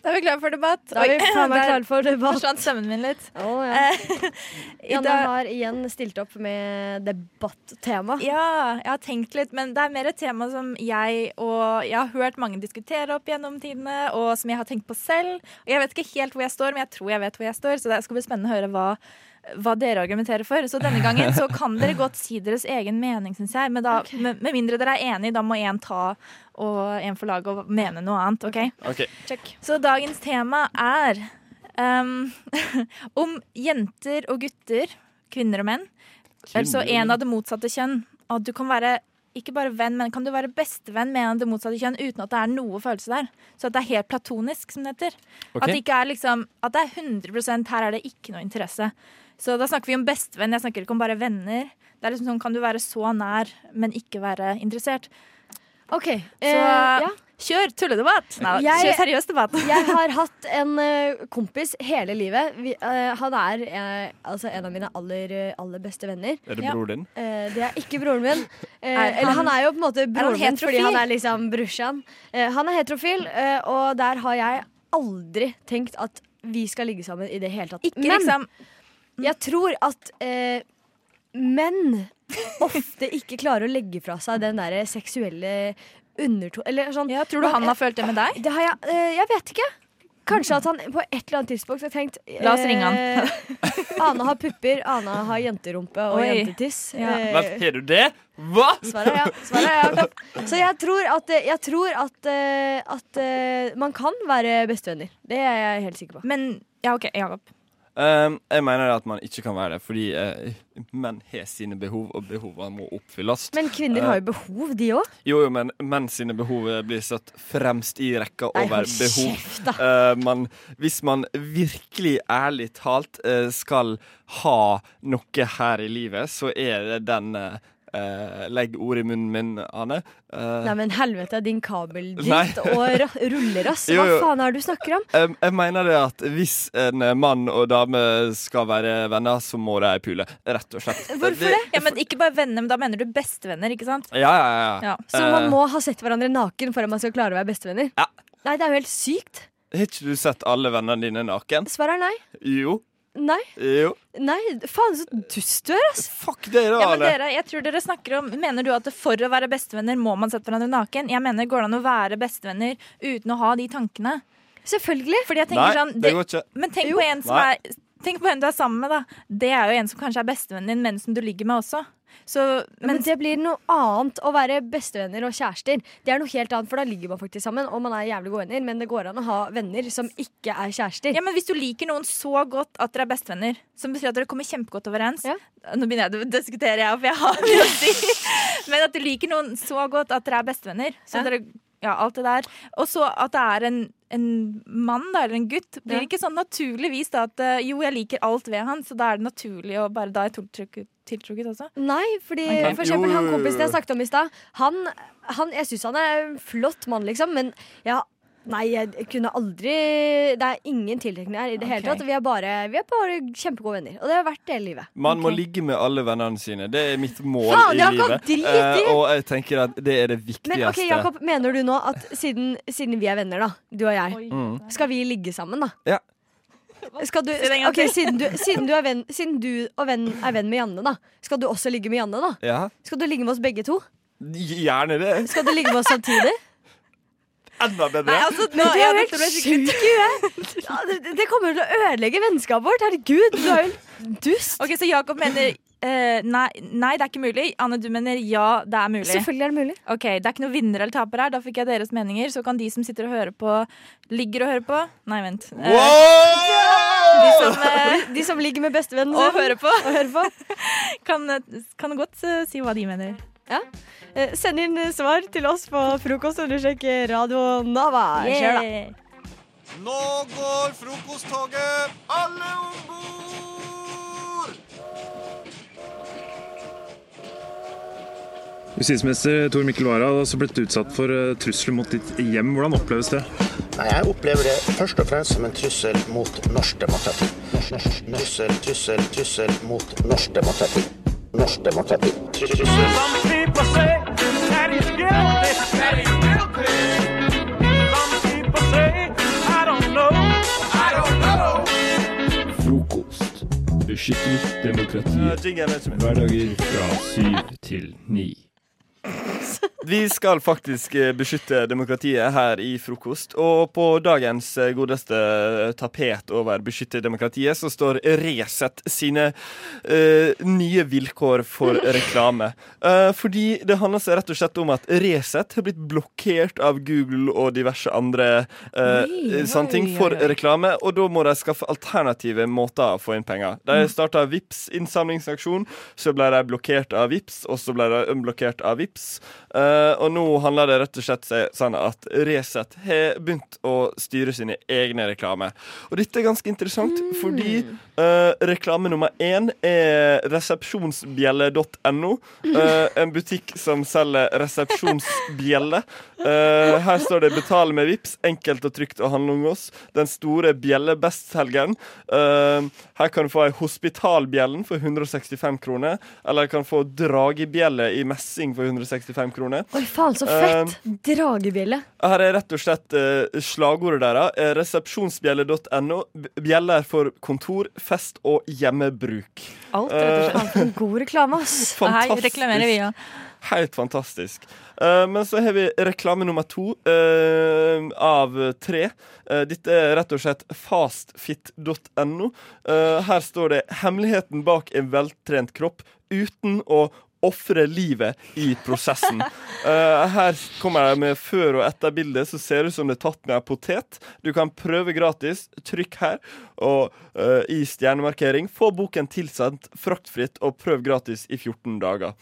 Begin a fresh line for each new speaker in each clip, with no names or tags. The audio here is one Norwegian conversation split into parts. Da er vi klare for debatt.
Da er vi faen meg
Der
klare for debatt.
forsvant stemmen min litt.
Å, ja.
Eh, I
Janne
dag,
har igjen stilt opp med debattema.
ja, jeg har tenkt litt, men det er mer et tema som jeg og jeg har hørt mange diskutere opp gjennom tidene, og som jeg har tenkt på selv. Og jeg vet ikke helt hvor jeg står, men jeg tror jeg vet hvor jeg står, så det skal bli spennende å høre hva hva dere argumenterer for. Så denne gangen så kan dere godt si deres egen mening, syns jeg. Men da, med, med mindre dere er enige, da må én ta og én få laget og mene noe annet. ok?
Ok.
Så dagens tema er ehm, om jenter og gutter, kvinner og menn, altså en av det motsatte kjønn, at du kan være ikke bare venn, men kan du være bestevenn med en av det motsatte kjønn uten at det er noe følelse der? Så at det er helt platonisk, som det heter.
Ok.
At, det ikke er liksom, at det er 100 her er det ikke noe interesse. Så da snakker vi om bestevenn, jeg snakker ikke om bare venner. Det er liksom sånn, Kan du være så nær, men ikke være interessert?
OK.
Så
eh, ja.
kjør tulledebatt! Nei,
Jeg-
kjør seriøs debatt.
Jeg har hatt en eh, kompis hele livet. Vi, eh, han er eh, altså en av mine aller, eh, aller beste venner.
Er det
Ja.
broren din?
Eh, det er ikke broren min. Eh,
Er
eller
han-
han er jo på en måte broren min
heterofil?
fordi han er liksom brorsan. Eh, han er heterofil, eh, og der har jeg aldri tenkt at vi skal ligge sammen i det hele tatt.
Ikke
Men
liksom
jeg tror at eh, menn ofte ikke klarer å legge fra seg den derre seksuelle underto... Eller sånn
Ja, tror du han har følt det med deg?
Det har jeg eh, Jeg vet ikke. Kanskje at han på et eller annet tidspunkt har tenkt eh,
La oss ringe han.
Ana har pupper, Ana har jenterumpe og
Oi.
jentetiss.
Ja.
Eh,
Hva, Har du det? Hva?
Svaret er ja. Svaret er ja. Så jeg tror at, eh, jeg tror at, eh, at eh, man kan være bestevenner. Det er jeg helt sikker på.
Men ja, OK, Jakob.
Um, jeg mener at man ikke kan være det, fordi eh, menn har sine behov, og behovene må oppfylles. Eh,
Men kvinner har jo behov, de òg.
Jo, jo, men menn sine behov eh, blir satt fremst i rekka
Nei,
over
hold
behov.
kjeft, da.
Eh, man, hvis man virkelig ærlig talt eh, skal ha noe her i livet, så er det den eh, eh, Legg ord i munnen min, Ane. Eh,
Nei, men helvete, din kabeldritt
Nei.
og ra rullerass.
Jo,
Hva
jo.
faen er det du snakker om?
jeg, jeg mener det at hvis en eh, mann og dame skal være venner, så må de pule. Rett og slett.
Hvorfor det?
Ja, men Ikke bare venner, men da mener du bestevenner, ikke sant?
Ja, ja,
Ja.
ja.
Så
Eh,
man må ha sett hverandre naken for at man skal klare å være bestevenner?
Ja.
Nei, det er jo helt sykt.
Har ikke du sett alle vennene dine naken?
Svaret er nei.
Jo.
Nei.
Jo.
Nei, faen så dust du er, ass.
Fuck deg, da,
Ja, men
Arne.
dere, jeg tror dere snakker om Mener du at for å være bestevenner må man sette hverandre naken? Jeg mener går det an å være bestevenner uten å ha de tankene?
Selvfølgelig.
Fordi jeg
Nei,
tenker sånn
det
det,
går ikke.
Men tenk
Jo.
på en som
Nei.
er Tenk på en du er sammen med, da. Det er jo en som kanskje er bestevennen din, men som du ligger med også. Så,
Men,
men
det blir noe annet å være bestevenner og kjærester. Det er noe helt annet, for da ligger man faktisk sammen, og man er jævlig gode venner, men det går an å ha venner som ikke er kjærester.
Ja, men Hvis du liker noen så godt at dere er bestevenner, som betyr at dere kommer kjempegodt overens
Ja.
Nå begynner jeg å diskutere, jeg, for jeg har mye å si. Men at du liker noen så godt at dere er bestevenner. Så
Ja.
dere, ja, alt det der. Og så at det er en, en mann da, eller en gutt. Blir det
Ja.
ikke sånn naturligvis da at eh, jo, jeg liker alt ved han, så da er det naturlig å bare da er jeg tiltrukket, tiltrukket også?
Nei, fordi
Ok.
for eksempel
Jo, jo,
han
jo,
kompisen jeg
jo.
snakket om i stad, han, han Jeg syns han er en flott mann, liksom, men ja, Nei, jeg kunne aldri Det er ingen tiltrekning her i det hele
Ok.
tatt. Vi er, bare, vi er bare kjempegode venner. Og det har vært det hele livet.
Man må
Ok.
ligge med alle vennene sine. Det er mitt mål
Faen,
i
Jakob,
livet.
drit i!
Eh, og jeg tenker at det er det viktigste.
Men ok, Jakob, mener du nå at siden, siden vi er venner, da, du og jeg,
Mm.
Skal vi ligge sammen, da?
Ja.
Skal du,
Si det en gang
ok, siden du, siden du, er venn, siden du og venn er venn med Janne, da skal du også ligge med Janne? da?
Ja,
Skal du ligge med oss begge to?
Gjerne det.
Skal du ligge med oss samtidig?
Enda bedre.
Nei, altså,
Men
nå-
du er
ja,
jo
dette
helt
ble skikkelig-
syk i huet! Ja, det, det kommer til å ødelegge vennskapet vårt. Herregud, du er jo en dust.
Ok, Så Jakob mener eh, nei, nei, det er ikke mulig. Anne, du mener ja, det er mulig.
Selvfølgelig er det mulig.
Ok, Det er ikke noe vinner eller taper her. Da fikk jeg deres meninger. Så kan de som sitter og hører på, ligger og hører på Nei, vent. Eh,
Wow!
de som eh,
De som ligger med bestevennen
og
sin
hører på,
og hører på.
kan, kan godt eh, si hva de mener.
Eh, Send inn eh, svar til oss på frokost. Undersøk Radio Nava. Kjør, da.
Yeah.
Nå går frokosttoget! Alle om bord!
Justisminister Tor Mikkel Wara har også blitt utsatt for eh, trusler mot ditt hjem. Hvordan oppleves det?
Nei, Jeg opplever det først og fremst som en trussel mot norsk demokrati. Norsk, norsk, trussel, trussel, trussel mot norsk demokrati. Norsk demokrati. Trussel.
Frokost. Beskytter
Eh,
demokratiet.
jingeren er ikke min.
Hverdager fra syv til ni.
Vi skal faktisk eh, beskytte demokratiet her i frokost. Og på dagens eh, godeste tapet over beskytte demokratiet, så står Resett sine eh, nye vilkår for reklame. Eh, fordi det handler seg rett og slett om at Resett har blitt blokkert av Google og diverse andre eh,
Oi,
sånne ting
oi,
for
oi, oi.
reklame, og da må de skaffe alternative måter å få inn penger. De starta Vips innsamlingsaksjon, så ble de blokkert av Vips, og så ble de unblokkert av Vips. Eh, og nå handler det rett og slett seg sånn at Resett har begynt å styre sine egne reklamer. Og dette er ganske interessant, fordi eh, reklame nummer én er resepsjonsbjelle.no. eh, en butikk som selger resepsjonsbjelle. Eh, her står det 'betal med VIPS, enkelt og trygt å handle om oss'. Den store bjellebestselgeren. Eh, her kan du få ei hospitalbjellen for 165 kroner. Eller du kan få dragebjelle i messing for 165 kroner. Eh,
Oi, faen, så fett! Dragebjelle.
Her er rett og slett eh, slagordet deres. Eh, Resepsjonsbjelle.no. b- Bjeller for kontor, fest og hjemmebruk.
Alt, rett og slett.
Faen, for en god reklame, ass.
Her reklamerer vi, ja.
Helt fantastisk. Eh, men så har vi reklame nummer to eh, av tre. Eh, dette er rett og slett fastfit.no. Eh, her står det 'Hemmeligheten bak en veltrent kropp uten å ofre livet i prosessen'. Eh, her kommer de med før- og etterbilde, så ser det ut som det er tatt med en potet. Du kan prøve gratis. Trykk her og eh, i stjernemarkering. Få boken tilsendt fraktfritt og prøv gratis i 14 dager.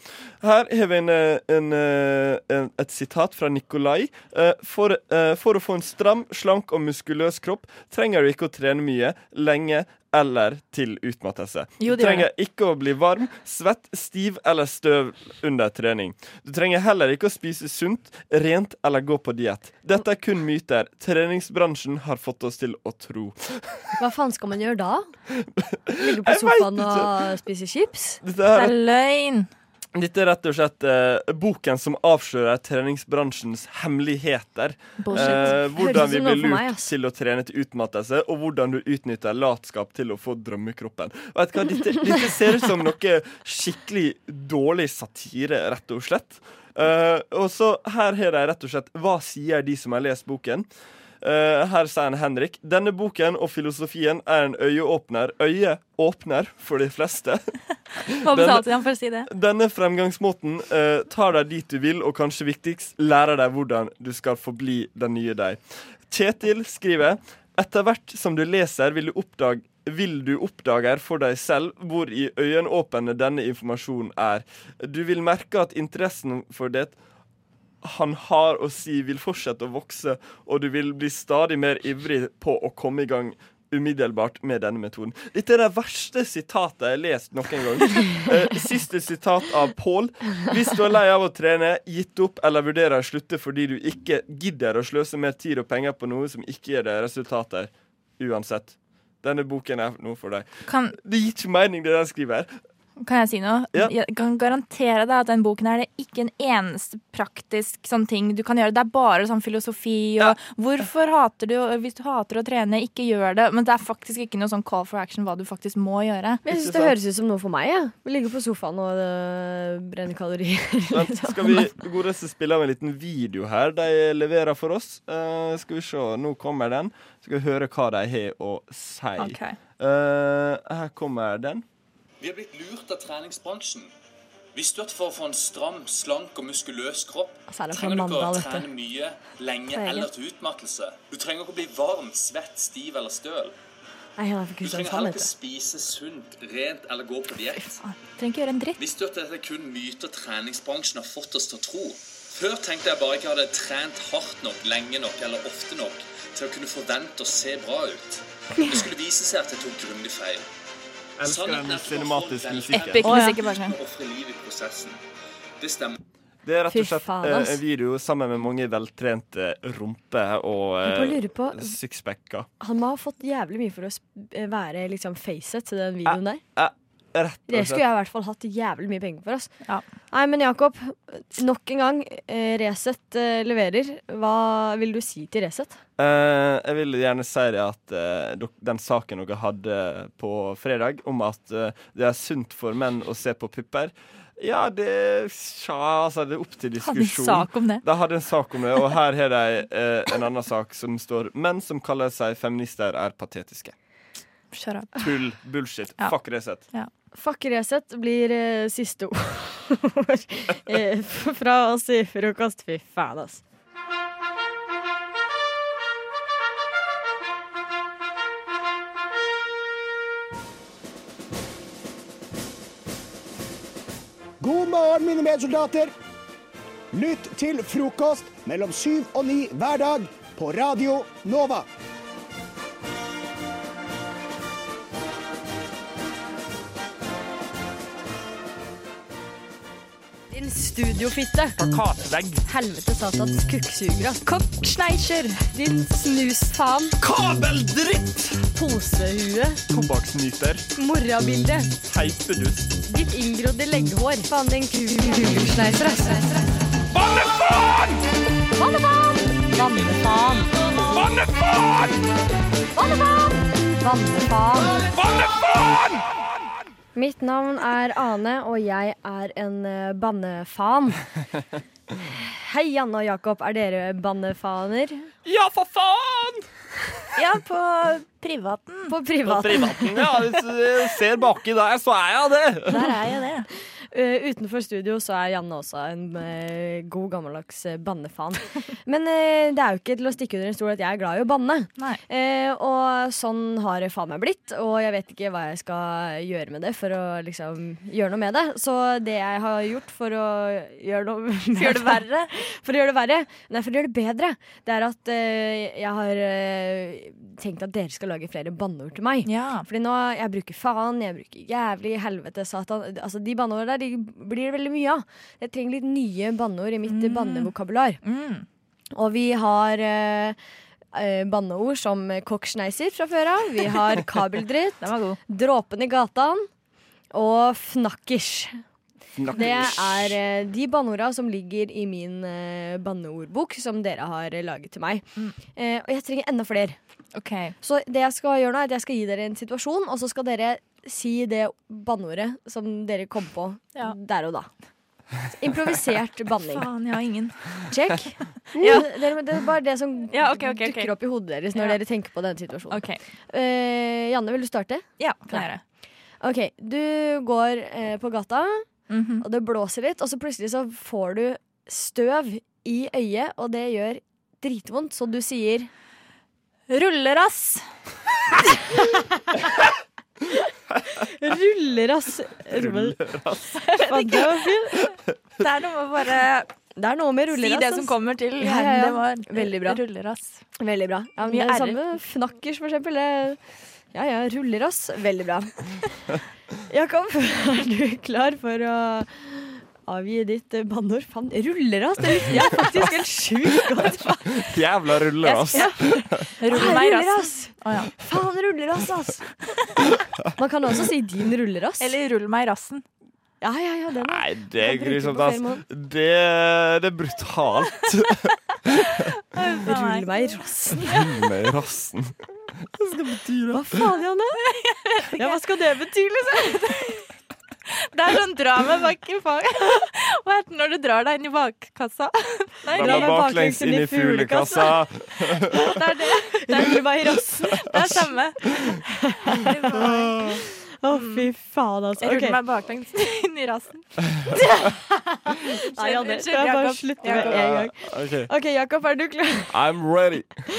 Her har vi en, eh, en, eh, en, et sitat fra Nikolai. Eh, For, eh, for å få en stram, slank og muskuløs kropp trenger du ikke å trene mye, lenge eller til utmattelse.
Jo,
du
det gjør
trenger ikke å bli varm, svett, stiv eller støv under trening. Du trenger heller ikke å spise sunt, rent eller gå på diett. Dette er kun myter. Treningsbransjen har fått oss til å tro.
Hva faen skal man gjøre da? Ligge på
Jeg vet
sofaen og spise chips?
Dette her
Det er løgn.
Dette er rett og slett eh, boken som avslører treningsbransjens hemmeligheter. Eh, hvordan
Høres ut
vi
som noe
blir
for meg,
lurt
ass.
til å trene til utmattelse, og hvordan du utnytter latskap til å få drømmekroppen. Vet du hva, dette, dette ser ut som noe skikkelig dårlig satire, rett og slett. Eh, og så her har de rett og slett Hva sier de som har lest boken? Eh, her sier han Henrik. Denne boken og filosofien er en øyeåpner. Øyet åpner for de fleste.
Hva betalte de ham for å si det?
Denne fremgangsmåten eh, tar deg dit du vil, og kanskje viktigst, lærer deg hvordan du skal forbli den nye deg. Kjetil skriver etter hvert som du leser, vil du oppdage vil du oppdager for deg selv hvor i øyenåpne denne informasjonen er. Du vil merke at interessen for det han har å si, vil fortsette å vokse, og du vil bli stadig mer ivrig på å komme i gang umiddelbart med denne metoden. Dette er det verste sitatet jeg har lest noen gang. Eh, siste sitat av Pål. Hvis du er lei av å trene, gitt opp eller vurderer å slutte fordi du ikke gidder å sløse mer tid og penger på noe som ikke gir deg resultater, uansett. Denne boken er noe for deg.
Kan,
Det gir ikke mening, det den skriver her.
kan jeg si noe?
Ja.
Jeg kan garantere deg at den boken her, det er ikke en eneste praktisk sånn ting du kan gjøre. Det er bare sånn filosofi og Hvorfor hater du og Hvis du hater å trene, ikke gjør det. Men det er faktisk ikke noe sånn call for action hva du faktisk må gjøre.
Men Jeg synes Det høres ut som noe for meg. Ja. Ligge på sofaen og øh, brenne kalorier. liksom.
Vent, skal vi godeste spille av en liten video her de leverer for oss? Eh, skal vi se, nå kommer den. Skal vi høre hva de har å si.
Ok.
Eh, her kommer den.
Vi har blitt lurt av treningsbransjen. Visste du at for å få en stram, slank og muskuløs kropp,
Altså, er det fra
trenger du ikke å
Mandal, vet
trene
du.
mye, lenge
Trenger.
eller til utmattelse. Du trenger ikke å bli varm, svett, stiv eller støl.
Nei, han er fra
Du trenger
Kristiansand,
heller
vet
ikke
du.
spise sunt, rent eller gå på diett.
Trenger ikke gjøre en dritt.
Visste du at dette er kun myter treningsbransjen har fått oss til å tro? Før tenkte jeg bare ikke hadde trent hardt nok, lenge nok eller ofte nok til å kunne forvente å se bra ut. Det skulle vise seg at jeg tok grundig feil.
Elsker den cinematiske musikken.
Epic musikk i bakgrunnen.
Ofre livet i prosessen. Det stemmer.
Det er rett
Fy
og slett
faen,
eh,
ass.
en video sammen med mange veltrente rumper og
Jeg bare
eh,
lurer på,
sixpacker.
Han må ha fått jævlig mye for å sp- være liksom facet til den videoen der.
Eh, Rett
Det skulle
og slett.
jeg i hvert fall hatt jævlig mye penger for. Ass.
Ja.
Nei, men Jakob, nok en gang. eh, Resett eh, leverer. Hva vil du si til Resett?
Eh, jeg vil gjerne si det at eh, dok- den saken dere hadde på fredag, om at eh, det er sunt for menn å se på pupper Ja, det Tja, altså, det er opp til
Hadde en
diskusjon.
sak om det.
De hadde en sak om det, og her har de eh, en annen sak som står Menn som kaller seg feminister, er patetiske.
Shut up.
Tull. Bullshit.
Ja.
Fuck Resett.
Fuck Resett blir eh, siste ord eh, f- fra oss i frokost. Fy faen, ass.
God morgen, mine medsoldater. Lytt til frokost mellom syv og ni hver dag på Radio Nova.
Din studiofitte.
Plakatvegg.
Helvete satans kukksugere. ass.
Koppschneicher.
Din snusfaen.
Kabeldritt!
Posehue.
Tobakksnyter.
Morabilde.
Teipedust.
Ditt inngrodde legghår. Faen, den kugelsneiser, ass. Vannefaen! Vannefaen! Vannefaen! Vannefaen! Mitt navn er Ane, og jeg er en eh, bannefaen. Hei, Janne og Jakob. Er dere bannefaner?
Ja, for faen!
Ja, på privaten.
På privat.
Privaten, ja. Hvis du ser baki der, så er jeg det.
Der er jo det.
Eh, utenfor studio så er Janne også en eh, god gammeldags eh, bannefan. Men eh, det er jo ikke til å stikke under en stol at jeg er glad i å banne.
Nei.
Eh, og sånn har det faen meg blitt, og jeg vet ikke hva jeg skal gjøre med det for å liksom gjøre noe med det. Så det jeg har gjort for å gjøre noe med
Gjør det verre.
for å gjøre det verre, nei, for å gjøre det bedre, det er at eh, jeg har eh, tenkt at dere skal lage flere banneord til meg.
Ja.
Fordi nå, jeg bruker faen, jeg bruker jævlig, helvete, satan Altså, de banneordene der, de blir det veldig mye av Jeg trenger litt nye banneord i mitt
Mm.
bannevokabular
Mm.
Og vi har eh, eh, banneord som kokksneiser fra før av Vi har kabeldritt,
Den var god.
dråpen i gatan Og fnakkers det er
Snakker.
eh, de banneorda som ligger i min eh, banneordbok Som dere har eh, laget til meg eh, Og jeg trenger enda flere
Mm. OK.
så det jeg skal gjøre nå er at jeg skal gi dere en situasjon, og så skal dere si det banneordet som dere kom på
Ja.
der og da. Improvisert banning.
Faen, jeg har ingen.
Check.
Ja.
Det, det, det er bare det som
Ja, ok, ok, ok.
dukker opp i hodet deres når
Ja.
dere tenker på denne situasjonen.
OK.
Eh, Janne, vil du starte?
Ja, kan jeg gjøre.
Ok, Du går eh, på gata,
Mhm.
og det blåser litt, og så plutselig så får du støv i øyet, og det gjør dritvondt, så du sier
Rullerass.
Rullerass. Rullerass. Det var fint.
Det er noe med å bare
Det er noe med
si
rullerass.
det som kommer til.
Ja, ja, ja.
Det var
Veldig bra.
Rullerass.
Veldig bra. Ja, men
Mye
det er det
ærer.
samme fnakkers, for eksempel. Det, ja ja, rullerass. Veldig bra. Jakob, er du klar for å avgi ditt eh, banneord? Faen, rullerass! Det likte jeg faktisk helt sjukt godt. Faen,
Jævla ruller, ass.
Rull meg i rassen.
rullerass!
Å, ja.
Faen, rullerass, ass! Man kan også si din rullerass.
Eller rull meg i rassen.
Ja, ja, ja, den er
Nei, det er
Kan bruke på
grusomt, ass.
flere måter.
Det, det er brutalt.
Rull meg i rassen.
Rull meg i rassen.
Hva faen, Janne? Ja, hva skal det bety, liksom?
Det er sånn dra meg bak i fag. Hva heter det når du drar deg inn i bakkassa? Nei,
Dra meg baklengs inn i fuglekassa.
det er det.
Rull meg i rassen.
Det er samme.
Å, fy faen, altså.
Jeg ruller
Ok.
meg baklengs inn i rassen.
Nei, Janne,
Unnskyld,
kan jeg bare
Jakob.
slutte med
Jakob.
en gang?
OK,
Ok, Jakob, er du klar?
I'm ready.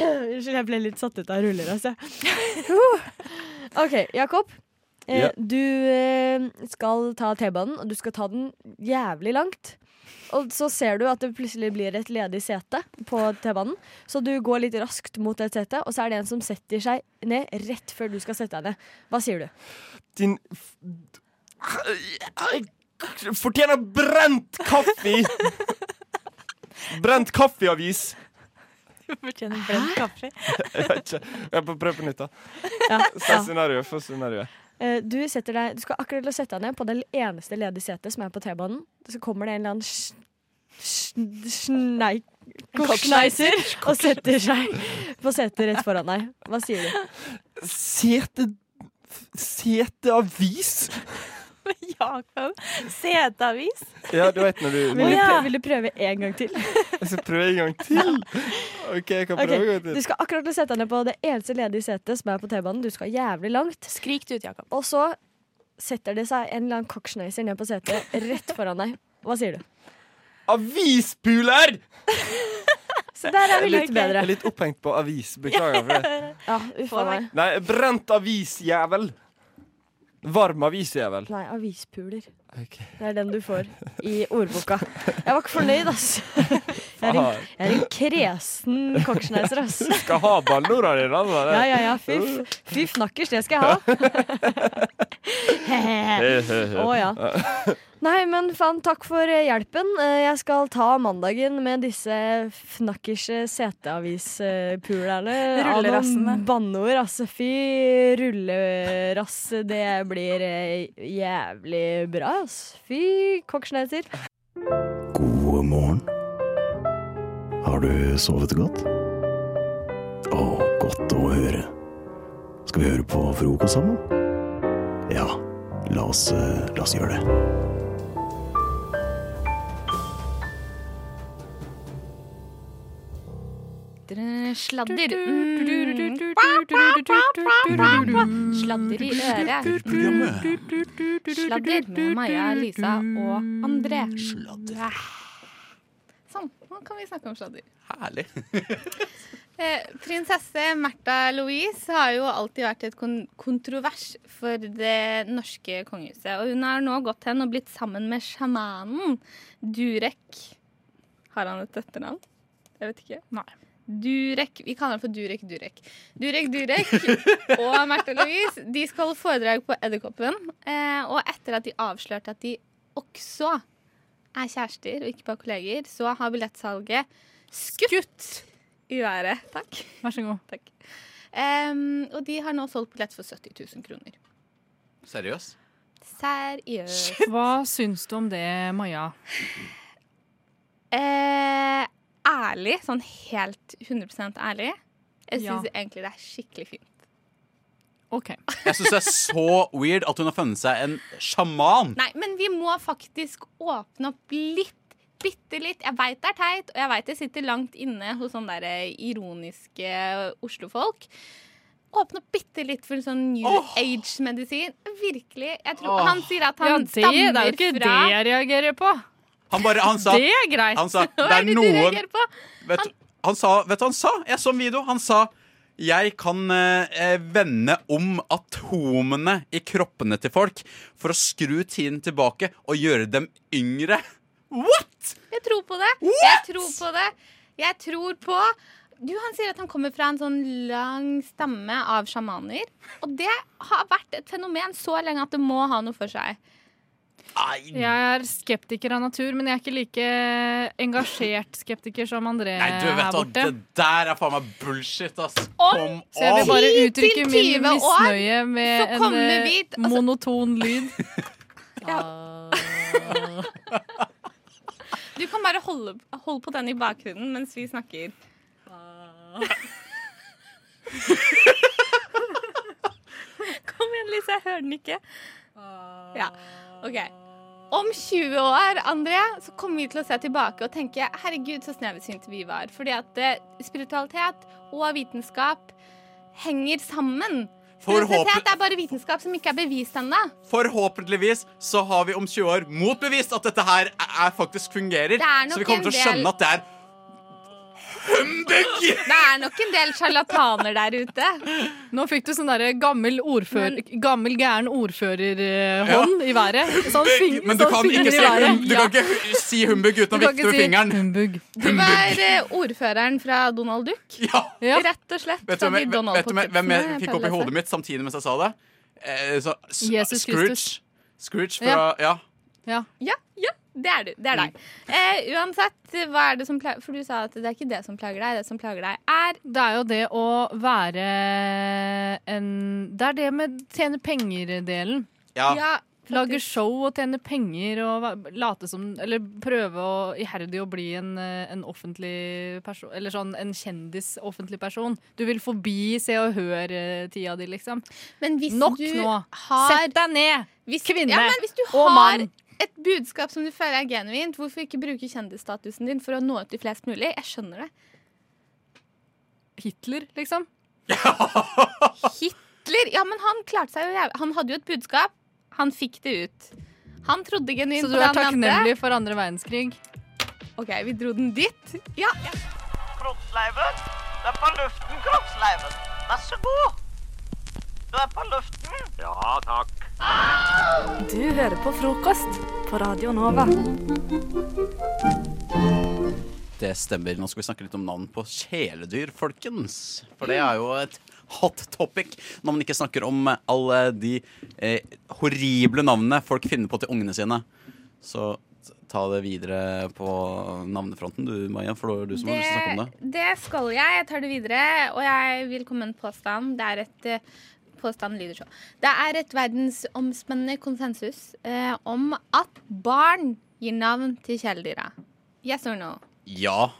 Unnskyld, jeg ble litt satt ut av ruller, altså. Uh. ok, Jakob. Eh,
Ja.
Du eh, skal ta T-banen, og du skal ta den jævlig langt. Og så ser du at det plutselig blir et ledig sete på T-banen. Så du går litt raskt mot det setet, og så er det en som setter seg ned rett før du skal sette deg ned. Hva sier du?
Din k- fortjener brent kaffe! Brent kaffeavis.
Fortjener brent kaffe.
Jeg vet ikke. Jeg får prøve på nytt, da.
Ja,
Få scenario, få scenario.
Eh, Du, setter deg, du skal akkurat til å sette deg ned på det eneste ledige setet som er på T-banen. Så kommer det en eller annen sj- sj- snei- kortsneiser og setter seg på setet rett foran deg. Hva sier du?
Sete... Seteavis?
Jakob. Seteavis.
Ja, du vet når du
Vil du prøve, vil du prøve en gang til?
Jeg skal prøve en gang til. OK, jeg kan prøve
Ok,
en gang til.
Du skal akkurat til å sette deg ned på det eneste ledige setet som er på T-banen. Du skal jævlig langt.
Skrik det ut, Jakob.
Og så setter det seg en eller annen kortsneiser ned på setet rett foran deg. Hva sier du?
Avispuler!
Så der er vi litt
Jeg
bedre.
er litt opphengt på avis. Beklager for det.
Ja, uff a meg.
Nei, brent avisjævel. Varm avisjævel.
Nei, avispuler.
Ok.
Det er den du får i ordboka. Jeg var ikke fornøyd, ass. Jeg er en,
Faen.
jeg er en kresen kortsneiser, ass.
Skal ha ballorda dine. altså.
Ja, ja, ja. Fy, f- fy fnakkers, det skal jeg ha.
He, he, he.
Å ja. Nei, men faen, takk for eh, hjelpen. Eh, Jeg skal ta mandagen med disse fnakkers eh, seteavispulerne. Av noen
Rullerassene.
banneord, altså. Fy rullerass. Det blir eh, jævlig bra, ass. Fy kokksneiser.
God morgen. Har du sovet godt? Å, godt å høre. Skal vi høre på frokost sammen? Ja, la oss, eh, la oss gjøre det.
Sladder. Mm. Sladder i øret. Sladder med Maja, Lisa og André. Sladder. Sånn, nå kan vi snakke om sladder.
Herlig.
Eh, Prinsesse Märtha Louise har jo alltid vært et kon kontrovers for det norske kongehuset. Og hun har nå gått hen og blitt sammen med sjamanen Durek. Har han et etternavn? Jeg vet ikke. Nei. Durek, Vi kaller han for Durek Durek. Durek Durek og Märtha Louise de skal holde foredrag på Edderkoppen. Eh, og etter at de avslørte at de også er kjærester og ikke bare kolleger, så har billettsalget skutt i været. Takk. Vær så god. Takk. Em, og de har nå solgt billett for 70 000 kroner.
Seriøs?
Seriøst.
Hva syns du om det, Maja?
Eh, ærlig, sånn helt 100 ærlig, jeg
Ja.
syns egentlig det er skikkelig fint.
Jeg syns det er så weird at hun har funnet seg en sjaman.
Nei, men vi må faktisk åpne opp litt. Bitte litt. Jeg veit det er teit, og jeg veit det sitter langt inne hos sånne der eh, ironiske Oslo-folk. Åpne opp bitte litt for sånn new age-medisin. Virkelig. Jeg tror,
Åh.
Han sier at
Ja,
han
det- det er jo
stammer fra
ikke det jeg reagerer på.
Han bare, han sa,
Det er greit.
Han sa,
Hva
det
er
er
det du
noen
reagerer på?
Vet, du- han sa, vet du hva han sa? Jeg så en video. Han sa jeg kan eh, eh, vende om atomene i kroppene til folk for å skru tiden tilbake og gjøre dem yngre. What?!
Jeg tror på det. Jeg tror på det. Jeg tror på du, Han sier at han kommer fra en sånn lang stamme av sjamaner. Og det har vært et fenomen så lenge at det må ha noe for seg.
Jeg er skeptiker av natur, men jeg er ikke like engasjert skeptiker som André
Nei,
Eh,
du
her
vet hva,
borte.
det der er faen meg bullshit, ass. Kom
Så jeg vil bare uttrykke min
10-20 år,
misnøye med
så
en
kommer
eh,
vi- altså-
monoton lyd.
Du kan bare holde, holde på den i bakgrunnen mens vi snakker. Kom igjen, Lise. Jeg hører den ikke. Ja, ok. Om 20 år André, så kommer vi til å se tilbake og tenke herregud, så sneversynte vi var. Fordi at eh, spiritualitet og vitenskap henger sammen.
Forhåpent-
Spiritualitet er bare vitenskap som ikke er bevist ennå.
Forhåpentligvis så har vi om 20 år motbevist at dette her er, er faktisk fungerer.
Det er nok
Så vi kommer til å
en del-
skjønne at det er
Det er nok en del sjarlataner der ute.
Nå fikk du sånn derre gammel, ordfør, gammel gæren ordførerhånd i været. Sånn fing,
Men du
sånn
kan ikke
finger i
si,
været.
hum- du kan ikke si humbug uten å
Du kan ikke
vifte med
si
fingeren.
Humbug.
Du var eh, ordføreren fra Donald Duck. Rett og slett.
Vet du
fra
hvem,
de
hvem,
Donald
vet du hvem- hvem jeg
Pocket-tipsene
fikk opp i
Pelle
hodet mitt samtidig mens jeg sa det? Eh, så, s-
Jesus
Scrooge.
Kristus.
Scrooge
Ja.
fra ja.
Ja.
ja, det er du. Det er deg.
Mm.
Eh, uansett, hva er det som plager For du sa at det er ikke det som plager deg. Det som plager deg, er
Det er jo det å være en Det er det med tjene penger-delen.
Ja. Ja,
Lage show og tjene penger og va- late som Eller prøve å iherdig å bli en, eh, en offentlig person Eller sånn en kjendis-offentlig person. Du vil forbi Se og Hør-tida di, liksom.
Men hvis
Nok
du
nå!
har-
Sett deg ned! Kvinne
ja, men hvis du
og
har
mann!
et budskap som du føler er genuint, hvorfor ikke bruke kjendisstatusen din for å nå ut til flest mulig? Jeg skjønner det.
Hitler, liksom.
Hitler, ja, men han klarte seg jo jævlig. Han hadde jo et budskap. Han fikk det ut. Han trodde genuint
Så du
på det
er
han mente.
takknemlig for andre verdenskrig?
OK, vi dro den dit. Ja.
Kroppsleiven. Det er på luften, kroppsleiven. Vær så god. Du er på luften. Ja, takk.
Du hører på frokost på Radio Nova.
Det stemmer. Nå skal vi snakke litt om navn på kjæledyr, folkens. For det er jo et hot topic når man ikke snakker om eh, alle de eh, horrible navnene folk finner på til ungene sine. Så t- ta det videre på navnefronten, du Maja, for det var du som har lyst til å snakke om det.
det skal jeg. Jeg tar det videre, og jeg vil komme med en påstand. Det er et eh, Påstanden lyder så. Det er et verdensomspennende konsensus eh, om at barn gir navn til kjæledyra. Yes or no?
Ja,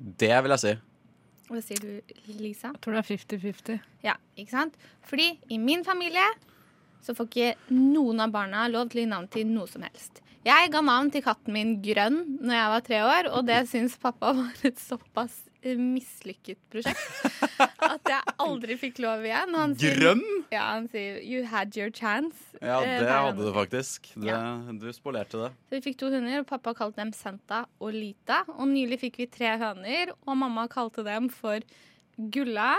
det vil jeg si.
Hva sier du, Lisa?
Jeg tror det er 50-50.
Ja, ikke sant? Fordi i min familie så får ikke noen av barna lov til å gi navn til noe som helst. Jeg ga navn til katten min Grønn når jeg var tre år, og det syns pappa var et såpass eh, mislykket prosjekt at jeg aldri fikk lov igjen. Og han sier-
Grønn?
Ja, han sier 'you had your chance'.
Ja,
eh,
det
hver gang.
hadde du faktisk. Det, du spolerte det.
Så vi fikk to hunder, og pappa kalte dem Senta og Lita. Og nylig fikk vi tre høner, og mamma kalte dem for Gulla,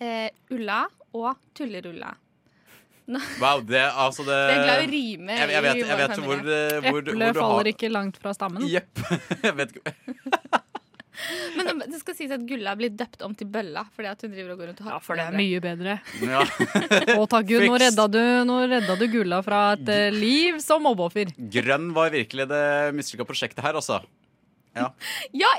eh, Ulla og Tullerulla.
Wow, det altså det
Det er glad i å rime
Jeg, jeg vet,
i
jeg
vår
vet
familie.
hvor, eh, hvor, hvor du
Eplet
har
faller ikke langt fra stammen.
Jepp. Jeg vet ikke
Men det- det skal sies at Gulla blir døpt om til Bølla fordi at hun driver og går rundt og har Ja, for
Det er mye bedre.
Ja.
Å, takk Gud, nå
Fiks.
redda du, nå redda du Gulla fra et eh, liv som mobbeoffer.
Grønn var virkelig det mislykka prosjektet her, altså.
Ja,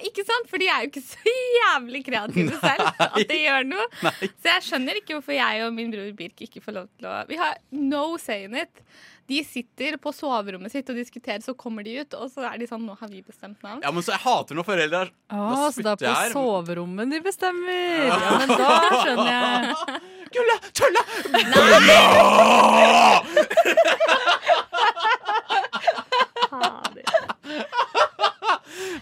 ikke sant? For de er jo ikke så jævlig kreative selv at de gjør noe. Så jeg skjønner ikke hvorfor jeg og min bror Birk ikke får lov til å Vi har no say in it. De sitter på soverommet sitt og diskuterer, så kommer de ut, og så er de sånn Nå har vi bestemt navn.
Ja, men så Jeg hater når foreldre er
Å,
Da
så det er
spytter
på
jeg her.
soverommet de bestemmer! Ja, men da skjønner jeg.
Gulla! Tulla!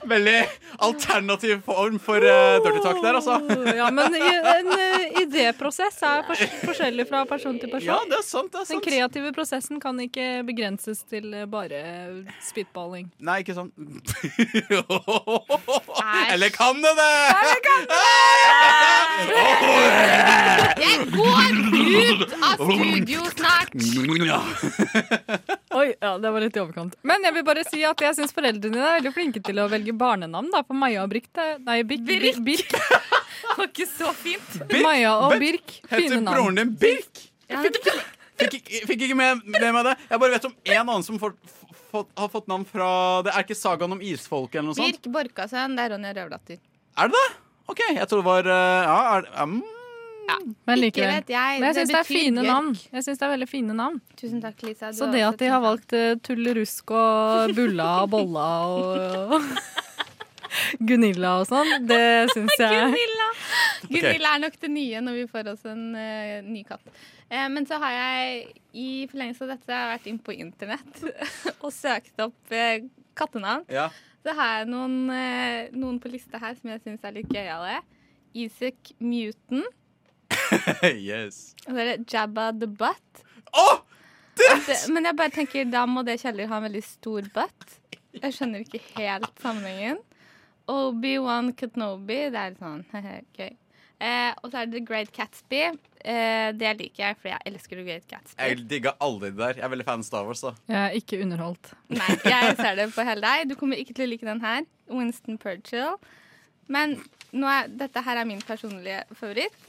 Veldig alternativ form for eh, dirty talk der, altså.
Ja, men i- en eh, idéprosess er fors forskjellig fra person til person.
Ja, det er sant, det er
Den
sant.
kreative prosessen kan ikke begrenses til eh, bare spitballing.
Nei, ikke sånn. Eller kan det det?
Jeg går ut av studio snart!
Ja.
Oi, ja, det var litt i overkant. Men jeg vil bare si at jeg syns foreldrene dine er veldig flinke til å velge barnenavn. da, For Maja og Birk det- Nei, Birk. Birk. Birk.
Det var ikke så fint.
Maja og
Vent,
Birk.
Heter
Fine
broren
navn.
din Birk? Fikk, ikke- fikk ikke med, med meg det. Jeg bare vet om én annen som får, fått, har fått navn fra Det er ikke sagaen om isfolket eller noe sånt?
Birk Borkasøn, det er Ronja Røverdatter.
Er det det? OK, jeg tror det var eh, Ja, er, det- mm.
Men
Ikke
likevel.
vet jeg.
Men jeg
Det
syns det er
betyr
fine
bjørk.
navn. Jeg synes det er veldig fine navn.
Tusen takk, Lisa. Du
Så
har
det
også
at de har valgt eh, Tullerusk og Bulla og Bolla og Gunilla og sånn, det syns jeg
Gunilla. Gunilla er nok det nye når vi får oss en eh, ny katt. Eh, men så har jeg i forlengelse av dette vært inn på internett og søkt opp eh, kattenavn.
Ja.
Så har jeg noen, eh, noen på lista her som jeg syns er litt gøyale. Isak Muten.
yes.
Og så er det Jabba the Butt. At det- Men jeg bare tenker, da må det kjeller ha en veldig stor butt. Jeg skjønner ikke helt sammenhengen. Obi-Wan Kenobi, det er sånn gøy. Eh, og så er det The Great Gatsby. Eh, det liker jeg, for jeg elsker The Great Gatsby.
Jeg digga aldri det der. Jeg er veldig fan av Star Wars, da.
Jeg er ikke underholdt.
Nei, jeg ser det på hele deg. Du kommer ikke til å like den her. Winston Churchill. Men nå er, dette her er min personlige favoritt.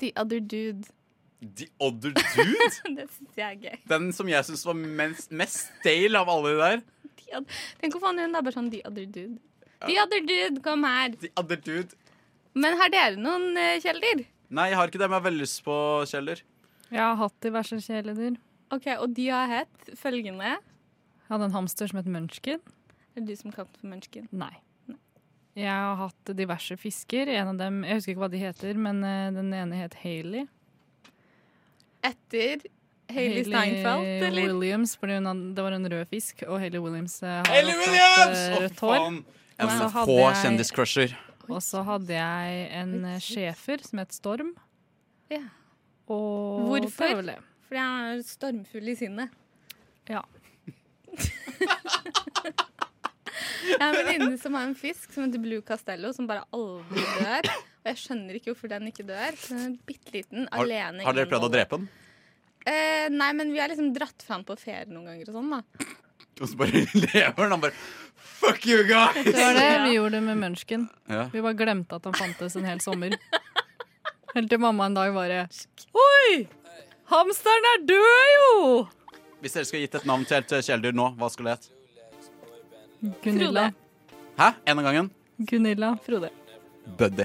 The Other Dude.
The Other Dude?
det syns jeg er gøy.
Den som jeg syns var mest, mest stale av alle de der.
The oth- Tenk å få hun er bare sånn The other dude. The other dude, kom her.
The Other Dude.
Men har dere noen eh, kjæledyr?
Nei, jeg har ikke det, men jeg har veldig lyst på Kjeller.
Jeg har hatt diverse kjæledyr.
Ok, Og de har hett følgende
Jeg hadde en hamster som het Munchkin.
Er det du som kalte den for munchkin?
Nei. Jeg har hatt diverse fisker. En av dem, Jeg husker ikke hva de heter, men eh, den ene het Hailey.
Etter Hailey Steinfeld, eller?
Williams, fordi hun hadde, det var en rød fisk, og Hailey Williams eh, har
Hayley
også
Williams!
hatt eh,
Å,
rødt hår.
faen. En
Og så
av
hadde
Altså, få
jeg-
kjendiscrusher.
Og så hadde jeg en eh, schæfer som het Storm.
Ja.
Og det
Hvorfor?
var vel det.
Fordi han er stormfull i sinnet.
Ja.
Jeg har en venninne som har en fisk som heter Blue Castello, som bare aldri dør. Og jeg skjønner ikke hvorfor den ikke dør. for Den er bitte liten,
Har,
alene.
har dere prøvd å drepe den?
Eh, nei, men vi har liksom dratt fram på ferie noen ganger og sånn, da.
Og så bare lever den. Han bare Fuck you
Det var
guys!
det vi gjorde med Munchkin.
Ja.
Vi bare glemte at han fantes en hel sommer. Helt til mamma en dag bare Oi! Hamsteren er død, jo!
Hvis dere skulle gitt et navn til et eh, kjæledyr nå, hva skulle det hett?
Gunilla.
Hæ? En av gangen?
Gunilla Frode.
Buddy.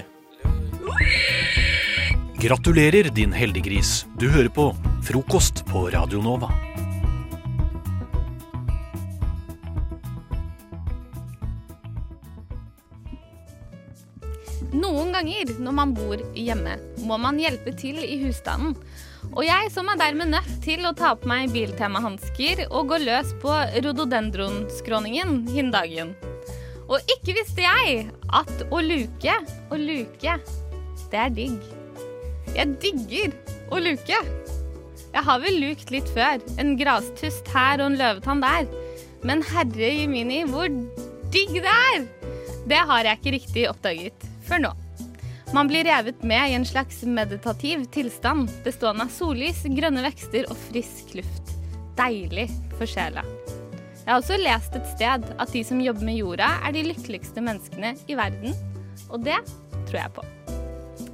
Gratulerer, din heldiggris. Du hører på Frokost på Radio Nova.
Noen ganger når man bor hjemme, må man hjelpe til i husstanden. Og jeg som er dermed nødt til å ta på meg Biltema-hansker og gå løs på rododendronskråningen hindagen. Og ikke visste jeg at å luke og luke, det er digg. Jeg digger å luke. Jeg har vel lukt litt før. En grastust her og en løvetann der. Men herre jemini, hvor digg det er! Det har jeg ikke riktig oppdaget før nå. Man blir revet med i en slags meditativ tilstand bestående av sollys, grønne vekster og frisk luft. Deilig for sjela. Jeg har også lest et sted at de som jobber med jorda, er de lykkeligste menneskene i verden. Og det tror jeg på.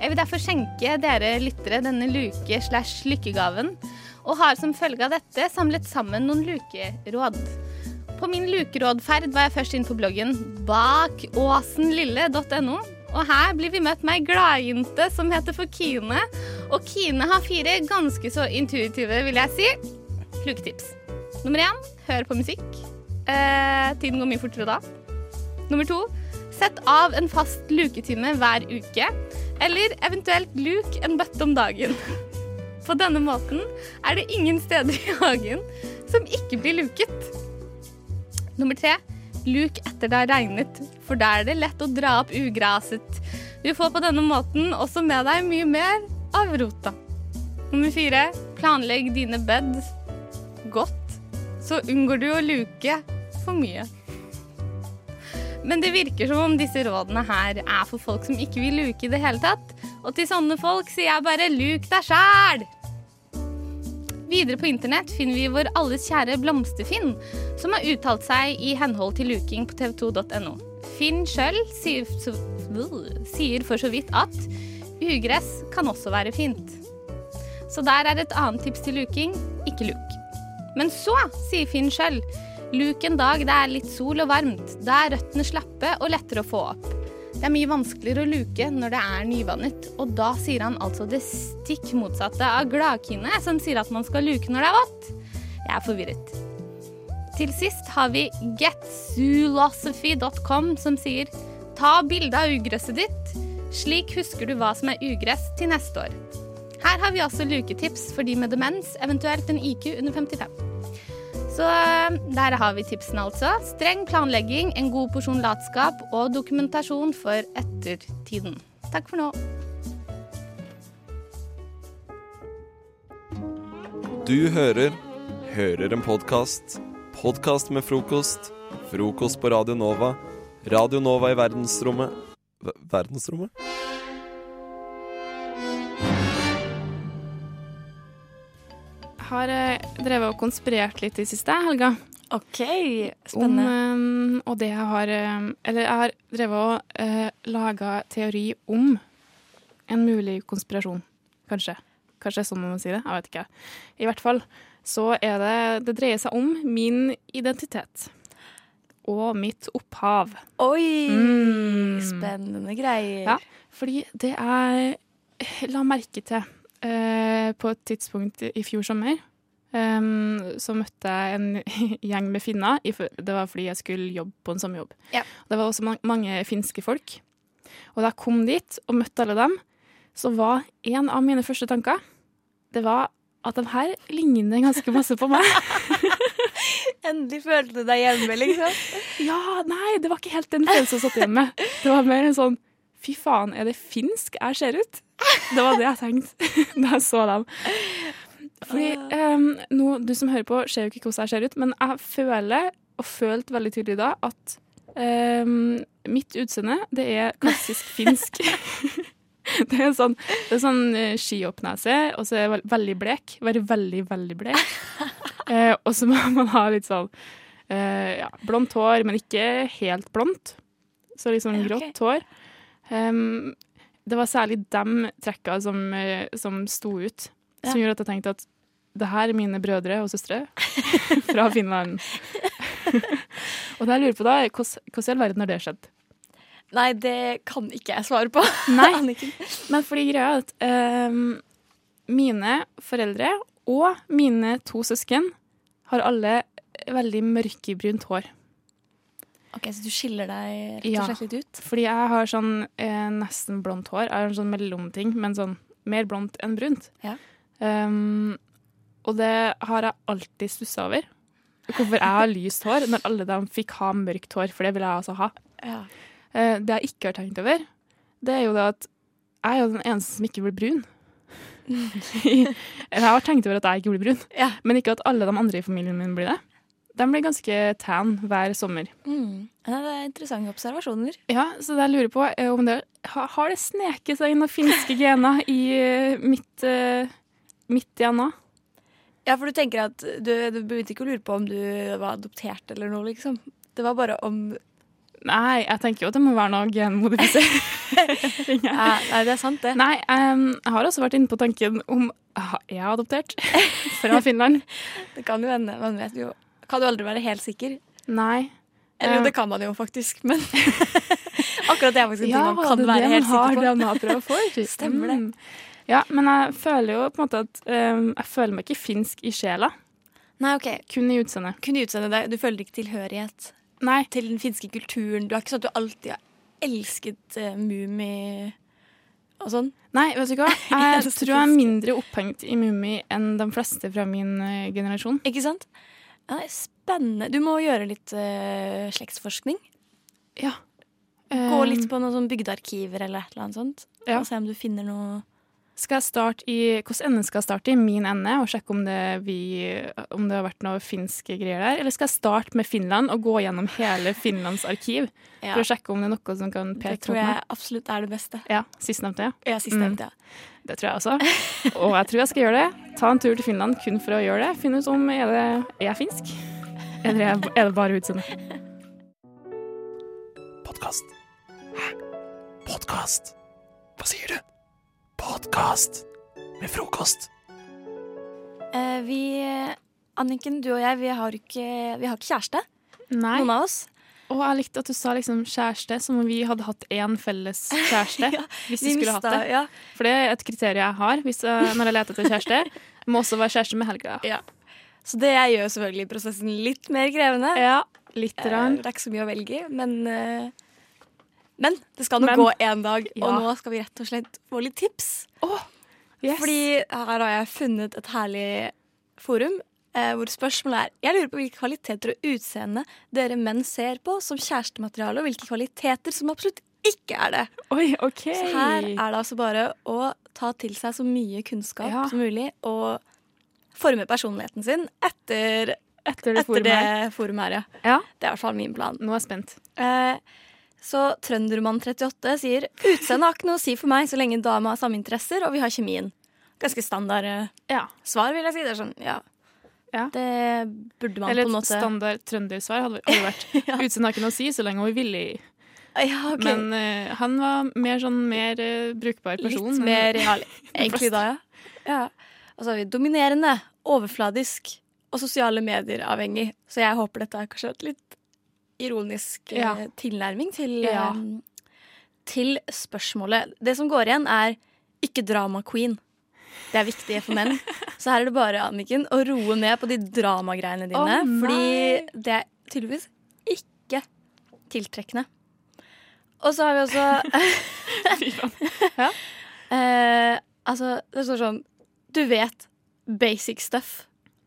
Jeg vil derfor skjenke dere lyttere denne luke-slash-lykkegaven, og har som følge av dette samlet sammen noen lukeråd. På min lukerådferd var jeg først inn på bloggen bakåsenlille.no, og her blir vi møtt med ei gladjente som heter for Kine, og Kine har fire ganske så intuitive, vil jeg si, luketips. Nummer én, hør på musikk. Eh, tiden går mye fortere da. Nummer to Sett av en fast luketime hver uke, eller eventuelt luk en bøtte om dagen. På denne måten er det ingen steder i hagen som ikke blir luket. Nummer tre luk etter det har regnet, for da er det lett å dra opp ugraset. Du får på denne måten også med deg mye mer av rota. Nummer fire planlegg dine bed godt, så unngår du å luke for mye. Men det virker som om disse rådene her er for folk som ikke vil luke i det hele tatt. Og til sånne folk sier jeg bare luk deg sjæl! Videre på internett finner vi vår alles kjære Blomsterfinn, som har uttalt seg i henhold til luking på tv2.no. Finn sjøl sier, så- sier for så vidt at ugress kan også være fint. Så der er et annet tips til luking ikke luk. Men så sier Finn sjøl luk en dag det er litt sol og varmt. Da er røttene slappe og lettere å få opp. Det er mye vanskeligere å luke når det er nyvannet, og da sier han altså det stikk motsatte av Gladkine, som sier at man skal luke når det er vått. Jeg er forvirret. Til sist har vi getzoolosophy.com som sier ta bilde av ugrøsset ditt. Slik husker du hva som er ugress til neste år. Her har vi også luketips for de med demens, eventuelt en IQ under 55. Så eh, der har vi tipsene, altså. Streng planlegging, en god porsjon latskap og dokumentasjon for ettertiden. Takk for nå.
Du hører Hører en podkast. Podkast med frokost. Frokost på Radio Nova. Radio Nova i verdensrommet Ver- Verdensrommet?
har eh, drevet og konspirert litt i siste helga.
OK, spennende.
Om, eh, og det jeg har eh, Eller jeg har drevet og eh, uh, laga teori om en mulig konspirasjon, kanskje. Kanskje det er sånn man må si det? Jeg vet ikke. I hvert fall så er det Det dreier seg om min identitet. Og mitt opphav. Mm.
Oi! Spennende greier.
Ja, fordi det jeg la merke til eh, på et tidspunkt i fjor sommer em, så møtte jeg en gjeng med finner. i fø- Det var fordi jeg skulle jobbe på en sommerjobb.
Ja.
Det var også ma- mange finske folk. Og da jeg kom dit og møtte alle dem, så var en av mine første tanker Det var at de her ligner ganske masse på meg.
Endelig følte du deg hjemme, liksom.
ja, nei, det var ikke helt den følelsen jeg satt igjen med. Det var mer en sånn Fy faen, er det finsk jeg ser ut? Det var det jeg tenkte da jeg så dem. Fordi em, nå, Du som hører på, ser jo ikke hvordan jeg ser ut, men jeg føler, og følte veldig tydelig da, at em, mitt utseende, det er klassisk finsk. Det er sånn, det er sånn eh, skihoppnese, og så er jeg vel- veldig blek. Være veldig, veldig blek. Eh, og så må man ha litt sånn eh, ja, blondt hår, men ikke helt blondt. Så litt sånn
Ja, ok.
grått hår. Em, det var særlig de trekka som, eh, som sto ut, som
Ja.
gjorde at jeg tenkte at det her er mine brødre og søstre fra Finland. og det jeg lurer på da, er hvordan hvordan i all verden har det skjedd?
Nei, det kan ikke jeg svare på.
Nei, men fordi greia er at ehm, mine foreldre og mine to søsken har alle veldig mørkebrunt hår.
Ok, Så du skiller deg rett
Ja,
og slett litt ut?
Fordi jeg har sånn eh, nesten blondt hår. Jeg har en sånn mellomting, men sånn mer blondt enn brunt. Ehm, og det har jeg alltid stussa over. Hvorfor jeg har lyst hår når alle de fikk ha mørkt hår, for det vil jeg altså ha.
Ja.
Eh, det jeg ikke har tenkt over, det er jo det at jeg er jo den eneste som ikke blir brun. Eller jeg har tenkt over at jeg ikke blir brun, men ikke at alle de andre i familien min blir det. De blir ganske tan hver sommer.
Mm. Nei, det er interessante observasjoner.
Ja, så det jeg lurer på er om det ha- Har det sneket seg inn noen finske gener i eh, mitt, eh, mitt DNA?
Ja, for du tenker at du, du begynte ikke å lure på om du var adoptert eller noe, liksom. Det var bare om
Nei, jeg tenker jo at det må være noe genmodifisering.
Nei, det er sant, det.
Nei, em, jeg har også vært inne på tanken om ah, er jeg adoptert fra Finland.
Det kan jo hende, man vet jo Kan jo aldri være helt sikker.
Nei.
Eller jo,
Eh.
det kan man jo faktisk, men Akkurat det er faktisk en ting
Ja,
man kan
det er det
være
man
helt
har
sikker på.
DNA-prøver for.
Stemmer det.
Mm. Ja, men jeg føler jo på en måte at em, Jeg føler meg ikke finsk i sjela.
Nei, ok.
Kun i utseendet.
Kun i utseendet. det- Du føler ikke tilhørighet
Nei.
til den finske kulturen. Du er ikke sånn at du alltid har elsket uh, Mummi og sånn.
Nei, vet du hva? Jeg
Eneste
tror jeg er
finske.
mindre opphengt i Mummi enn de fleste fra min eh, generasjon.
Ikke sant? Ja, det er spennende. Du må gjøre litt eh, slektsforskning.
Ja. Eh,
Gå litt på noen sånn bygdearkiver eller et eller annet sånt. Og se om du finner noe
Skal jeg starte i, Hvilken ende skal jeg starte i? Min ende, og sjekke om det, vi, om det har vært noe finske greier der? Eller skal jeg starte med Finland og gå gjennom hele Finlands arkiv
Ja.
for å sjekke om det er noe som kan
Det
peke
tror
mot meg?
jeg absolutt er det beste.
Ja, sistnevnte, ja.
Ja, sistnevnte,
ja. Det tror jeg også. Og jeg tror jeg skal gjøre det. Ta en tur til Finland kun for å gjøre det. Finne ut om er det er jeg finsk, eller er er det bare utseendet.
Podkast. Hæ? Podkast? Hva sier du? Podkast med frokost.
Eh, vi Anniken, du og jeg, vi har ikke, vi har ikke kjæreste.
Nei.
Noen av oss.
Og jeg likte at du sa liksom kjæreste, som om vi hadde hatt én felles kjæreste. hvis vi
vi
skulle
mista-
hatt det.
ja.
For det er et kriterium jeg har hvis jeg, når jeg leter etter kjæreste. Må også være kjæreste med Helga.
Ja. Så det gjør selvfølgelig prosessen litt mer krevende.
Ja, litt
Eh,
rann.
Det er ikke så mye å velge i, men eh, Men det skal nå
Men-
gå én dag, og
Ja.
nå skal vi rett og slett få litt tips.
yes.
Fordi her har jeg funnet et herlig forum eh, hvor spørsmålet er Jeg lurer på hvilke kvaliteter og utseende dere menn ser på som kjærestemateriale, og hvilke kvaliteter som absolutt ikke er det.
Oi, ok.
Så her er det altså bare å ta til seg så mye kunnskap
Ja.
som mulig og forme personligheten sin etter,
etter det forumet
forumet
her.
her. ja. Det er i hvert fall min plan.
Nå er jeg spent.
Eh, så Trøndermann38 sier utseendet har ikke noe å si for meg så lenge dama har samme interesser og vi har kjemien. Ganske standard eh, svar, vil jeg si. Det er sånn, ja. Det burde man
Eller
på en
et
måte
standard trøndersvar hadde, hadde vært. Utseendet har ikke noe å si så lenge hun er villig.
Ah, Ja, ok.
Men eh, han var mer sånn mer eh, brukbar person.
Litt mer real, egentlig da, ja. Og så har vi dominerende, overfladisk og sosiale medier avhengig. Så jeg håper dette er kanskje et litt ironisk eh,
Ja.
tilnærming til,
Ja.
em, til spørsmålet. Det som går igjen, er ikke drama queen. Det er viktig for menn. Så her er det bare Anniken å roe ned på de dramagreiene dine.
Å, nei.
fordi det er tydeligvis ikke tiltrekkende. Og så har vi også eh, Altså, det står sånn Du vet basic stuff.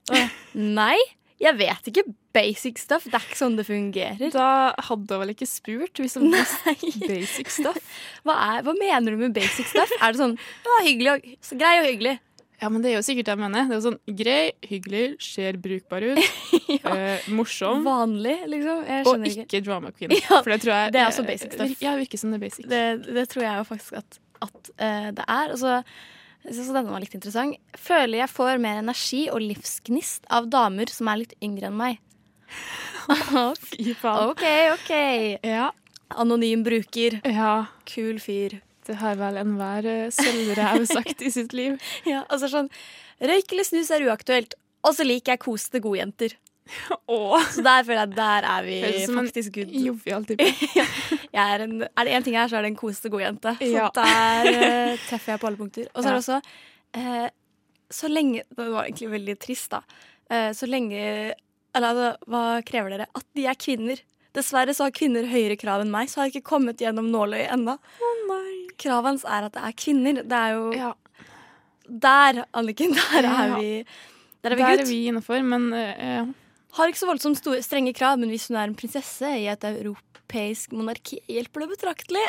Og, nei, jeg vet ikke basic stuff. Det er ikke sånn det fungerer. Da hadde hun vel ikke spurt hvis hun visste basic stuff. Hva, er, hva mener du med basic stuff? Er det sånn «Å, hyggelig og, så grei og hyggelig?
Ja, men det er jo sikkert det jeg mener. Det er jo sånn grei, hyggelig, ser brukbar ut, eh, morsom.
Vanlig, liksom. Jeg
og
skjønner
ikke,
ikke.
drama queen.
Ja,
for det tror jeg
det er også basic stuff.
vir- Ja, virker som det er basic.
Det, det tror jeg jo faktisk at, at eh, det er. Og så jeg synes denne var litt interessant. Føler jeg får mer energi og livsgnist av damer som er litt yngre enn meg. Fy faen. OK, OK. Anonym bruker. Kul fyr.
Det har vel enhver eh, sølvrev sagt i sitt liv.
Ja, altså sånn Røyk eller snus er uaktuelt. Og så liker jeg kosete godjenter. Så der føler jeg der er vi
Høres ut som en
faktisk good. Jovial type. jeg er, en, er det én ting jeg er, så er det en kosete godjente. Så
Ja.
der eh, treffer jeg på alle punkter. Og så er det
Ja.
også eh, Så lenge Det var egentlig veldig trist, da. Eh, så lenge Eller altså, hva krever dere? At de er kvinner. Dessverre så har kvinner høyere krav enn meg, så har jeg ikke kommet gjennom nåløyet ennå. Kravet hans er at det er kvinner. Det er jo Der, Anniken, der er
Ja.
vi Der er vi
Der
gutt.
er vi innafor, men eh, ja.
Har ikke så voldsomt store, strenge krav, men hvis hun er en prinsesse i et europeisk monarki, hjelper det betraktelig.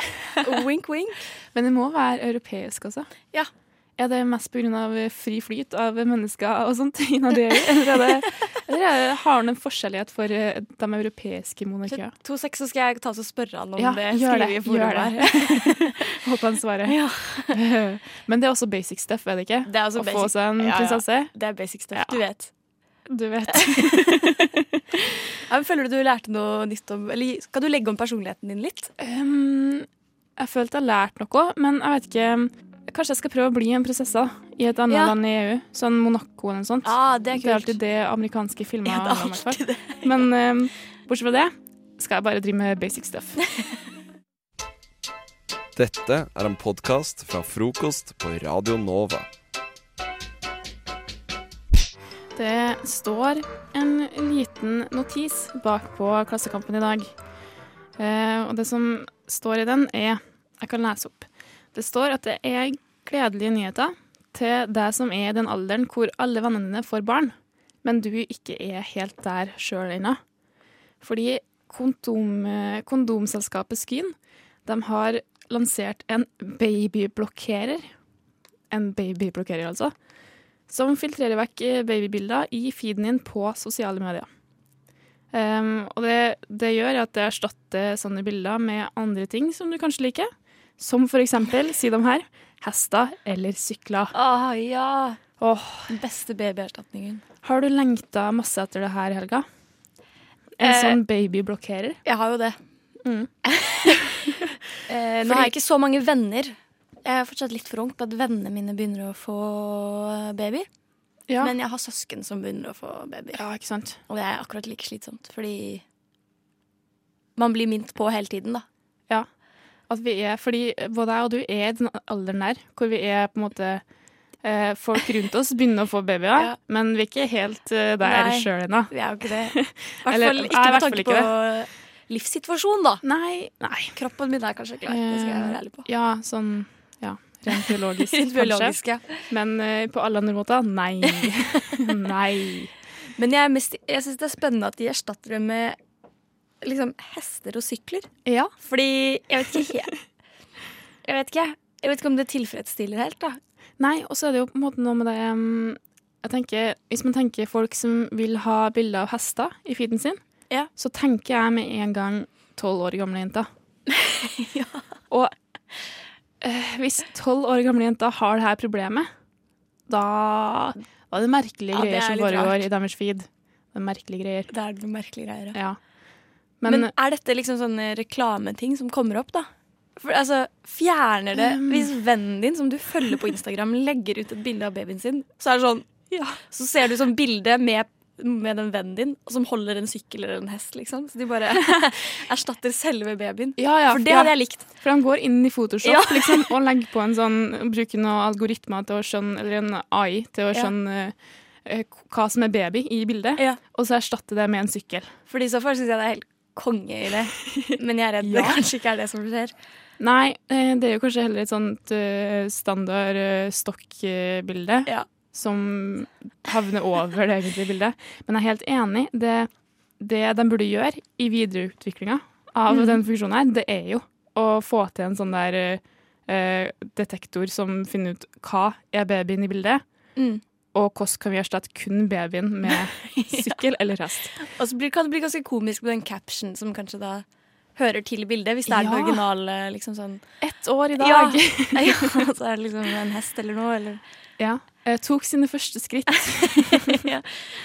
wink, wink.
Men det må være europeisk, altså.
Ja.
Er det mest pga. fri flyt av mennesker og sånt? innad i EU? Eller, er det, eller er det, har han en forskjellighet for eh, de europeiske monarkiene?
To seks, så skal jeg ta oss og spørre han om
Ja,
det.
gjør
skriver
det,
i forumet
gjør det.
her.
Håper han svarer. Men det er også basic stuff, er det ikke?
Det er også
Å
basic-
få seg en
Ja, ja.
prinsesse?
Det er basic stuff.
Ja.
Du
Du
vet.
vet.
Ja, men føler du du lærte noe nytt om Eller skal du legge om personligheten din litt?
Um, jeg følte jeg har lært noe, men jeg vet ikke Kanskje jeg skal prøve å bli en prinsesse da, i et annet
Ja.
land i EU. Sånn Monaco eller noe sånt.
Ja, det er
er
kult.
alltid det amerikanske filmer
Ja, det er
handler om. i hvert fall. Men um, bortsett fra det skal jeg bare drive med basic stuff.
Dette er en podkast fra frokost på Radio Nova.
Det står en liten notis bakpå Klassekampen i dag. Eh, og det som står i den, er Jeg kan lese opp. Det står at det er gledelige nyheter til deg som er i den alderen hvor alle vennene dine får barn, men du ikke er helt der sjøl ennå. Fordi kondom, eh, kondomselskapet Skyn de har lansert en babyblokkerer. En babyblokkerer, altså som filtrerer vekk eh, babybilder i feeden din på sosiale medier. Ehm, og det, det gjør at det erstatter sånne bilder med andre ting som du kanskje liker. Som for eksempel, si dem her, hester eller sykler.
Å Ah, ja!
Den
beste babyerstatningen.
Har du lengta masse etter det her, Helga? En
Eh,
sånn babyblokkerer?
Jeg har jo det. Mm. Eh, nå har jeg ikke så mange venner. Jeg er fortsatt litt for ung til at vennene mine begynner å få eh, baby.
Ja.
Men jeg har søsken som begynner å få baby. Og det er akkurat like slitsomt, fordi man blir minnet på hele tiden, da.
Ja. At vi er, fordi både jeg og du er i den alderen der hvor vi er på en måte eh, Folk rundt oss begynner å få babyer, men vi er ikke helt eh, der
Nei,
sjøl ennå.
Vi er jo ikke det. I hvert
Eller,
fall
jeg
ikke
er i
med
hvert fall
tanke
ikke
på
det.
livssituasjon, da.
Nei,
Kroppen min er kanskje klar, det skal jeg være ærlig på.
Eh, Ja, sånn ja, rent biologisk,
Rent biologisk,
kanskje. Men eh, på alle andre måter, nei. nei.
Men jeg, er mest- jeg syns det er spennende at de erstatter det med liksom hester og sykler.
Ja.
Fordi jeg vet ikke helt Jeg vet ikke. Jeg vet ikke om det tilfredsstiller helt, da.
Nei, og så er det jo på en måte noe med det um, jeg tenker, Hvis man tenker folk som vil ha bilder av hester i feeden sin, så tenker jeg med en gang tolv år gamle jenter. Og eh, hvis tolv år gamle jenter har det her problemet, da var det merkelige
Ja, det
greier
er
som
litt rart.
foregår i deres feed. Det er merkelige greier.
Det er det merkelige greier.
Ja.
Men,
Men- eh,
er dette liksom sånne reklameting som kommer opp, da? For, altså, fjerner det
Mm.
Hvis vennen din som du følger på Instagram, legger ut et bilde av babyen sin, så er det sånn Så ser du sånn bilde med, med den vennen din som holder en sykkel eller en hest, liksom. Så de bare erstatter selve babyen.
Ja, ja,
for det hadde jeg likt.
For de går inn i Photoshop
Ja.
liksom, og legger på en sånn Bruker noen algoritmer til å skjønne Eller en AI til å
Ja.
skjønne eh, hva som er baby i bildet, og så erstatte det med en sykkel.
For i så fall syns jeg det er helt konge i det. Men jeg er redd det kanskje ikke er det som skjer.
Nei, eh, det er jo kanskje heller et sånt eh, standard eh, stokkbilde som havner over det egentlige bildet. Men jeg er helt enig. Det, det de burde gjøre i videreutviklinga av
Mm.
Mhm.
den funksjonen her, det er jo å få til en sånn der eh, eh, detektor som finner ut hva er babyen i bildet,
Mm.
og hvordan kan vi erstatte kun babyen med sykkel eller hest.
Og så blir, kan det bli ganske komisk med den caption som kanskje da hører til bildet, hvis det er
Ja.
den originale liksom sånn
Ett år i
Ja,
dag.
ja så er det liksom en hest eller noe, eller
Ja. Eh, tok sine første skritt.
Ja,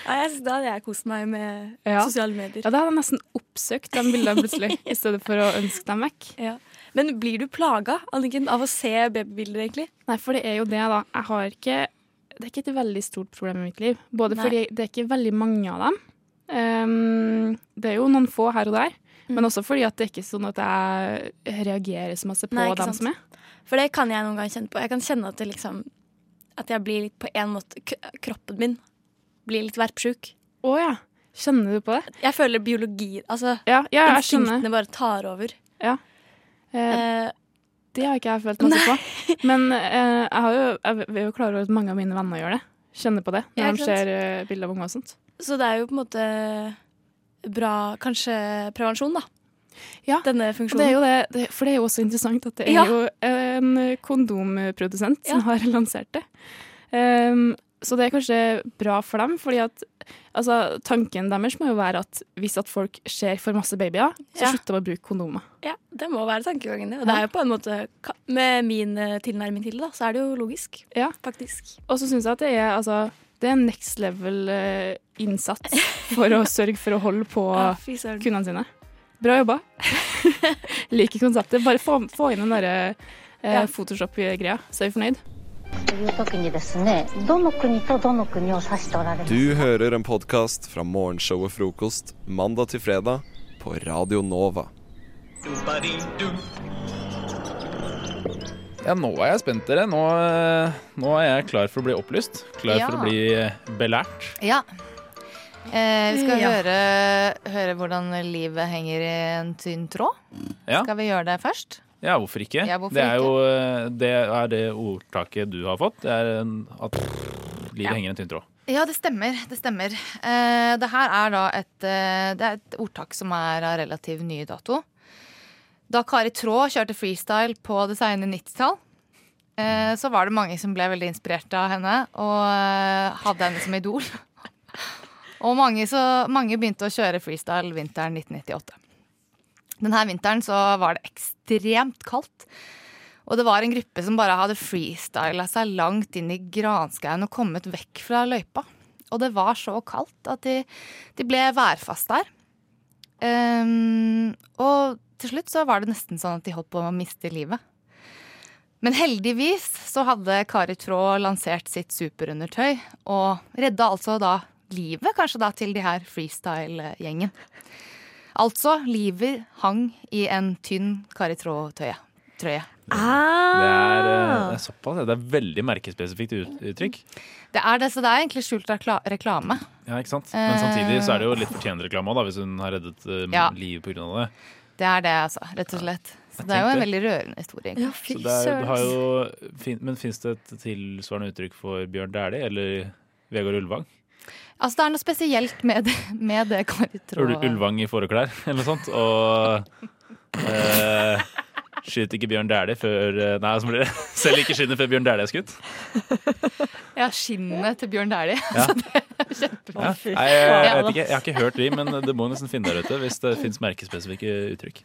jeg, da hadde jeg kost meg med
Ja.
sosiale medier.
Ja, da hadde jeg nesten oppsøkt de bildene plutselig, i stedet for å ønske dem vekk.
Ja. Men blir du plaga, Anniken, av å se babybilder, egentlig?
Nei, for det er jo det, da. Jeg har ikke Det er ikke et veldig stort problem i mitt liv. Både
Nei.
fordi det er ikke veldig mange av dem. Ehm, det er jo noen få her og der.
Mm.
Men også fordi at det er ikke sånn at jeg reagerer så masse på
Nei, ikke
dem
sant.
som er.
For det kan jeg noen ganger kjenne på. Jeg kan kjenne at det liksom At jeg blir litt på en måte k Kroppen min blir litt verpsjuk.
Å ja. Kjenner du på det?
Jeg føler biologi Altså
Ja, ja, jeg skjønner.
instinktene bare tar over.
Ja. Eh, det har ikke jeg følt masse på. Men eh, jeg, har jo, jeg er jo klar over at mange av mine venner gjør det. Kjenner på det når
Ja, ikke
de
sant?
ser eh, bilder av unger og sånt.
Så det er jo på en måte bra kanskje prevensjon, da.
Ja. Og Det
Denne
er
funksjonen.
jo det, det, for det er jo også interessant at det er
Ja.
jo en kondomprodusent som
Ja.
har lansert det. Ehm, så det er kanskje bra for dem, fordi at altså, tanken deres må jo være at hvis at folk ser for masse babyer, så
Ja.
slutter de å bruke kondomer.
Ja, det må være tankegangen. det. Og det er jo på en måte ka- Med min eh, tilnærming til det, da, så er det jo logisk.
Ja.
Faktisk.
Og så syns jeg at det er, altså, det er en next level-innsats for å sørge for å holde på
Ja, fy søren.
kundene sine. Bra jobba. Liker konseptet. Bare få, få inn den derre eh,
Ja.
Photoshop-greia, så er vi fornøyd.
という時にですねどの国とどの国を指しておられますか
Du hører en podkast fra morgenshowet Frokost mandag til fredag på Radio Nova.
Ja, nå er jeg spent, dere. Nå, eh, nå er jeg klar for å bli opplyst. Klar
Ja.
for å bli eh, belært.
Ja. Eh, vi skal
Ja.
høre, høre hvordan livet henger i en tynn tråd.
Ja.
Skal vi gjøre det først?
Ja, hvorfor ikke?
Ja, hvorfor
det er jo eh, det, er det ordtaket du har fått. Det er en, at livet
Ja.
henger i en tynn tråd.
Ja, det stemmer. Det stemmer. Eh, det her er da et, eh, det er et ordtak som er av relativt ny dato. Da Kari Traa kjørte freestyle på det sene 90-tall, eh, så var det mange som ble veldig inspirert av henne og eh, hadde henne som idol. Og mange, så, mange begynte å kjøre freestyle vinteren 1998. Denne vinteren så var det ekstremt kaldt. Og det var en gruppe som bare hadde freestyla seg langt inn i granskauen og kommet vekk fra løypa. Og det var så kaldt at de, de ble værfast der. Ehm, og til slutt så var det nesten sånn at de holdt på å miste livet. Men heldigvis så hadde Kari Traa lansert sitt superundertøy og redda altså da livet kanskje da til de her freestyle-gjengen. Altså, livet hang i en tynn Kari Traa-trøye. trøye.
Det er, eh,
Ah.
det er såpass. ja. Det er veldig merkespesifikt ut- uttrykk.
Det er det, så det er egentlig skjult rekla- reklame.
Ja, ikke sant? Men samtidig så er det jo litt fortjent reklame også, da, hvis hun har reddet eh,
Ja.
livet pga. det.
Det er det, altså. Rett og slett. Så det er jo en
tenkte-
veldig rørende historie. egentlig.
Så det er, du har jo, fin- men fins det et tilsvarende uttrykk for Bjørn Dæhlie eller Vegard Ulvang?
Altså, det er noe spesielt med det, med det Kari
Ul
Traa.
Ulvang i fåreklær eller noe sånt. Og eh, skyt ikke Bjørn Dæhlie før eh, Nei, så blir det selv ikke skinnet før Bjørn Dæhlie er skutt.
Ja, skinnet til Bjørn Dæhlie.
Ja.
Altså, det-
Ja.
Fy
Nei, jeg, jeg
faen,
vet ikke, jeg har ikke hørt de, men det må nesten finne der ute hvis det fins merkespesifikke uttrykk.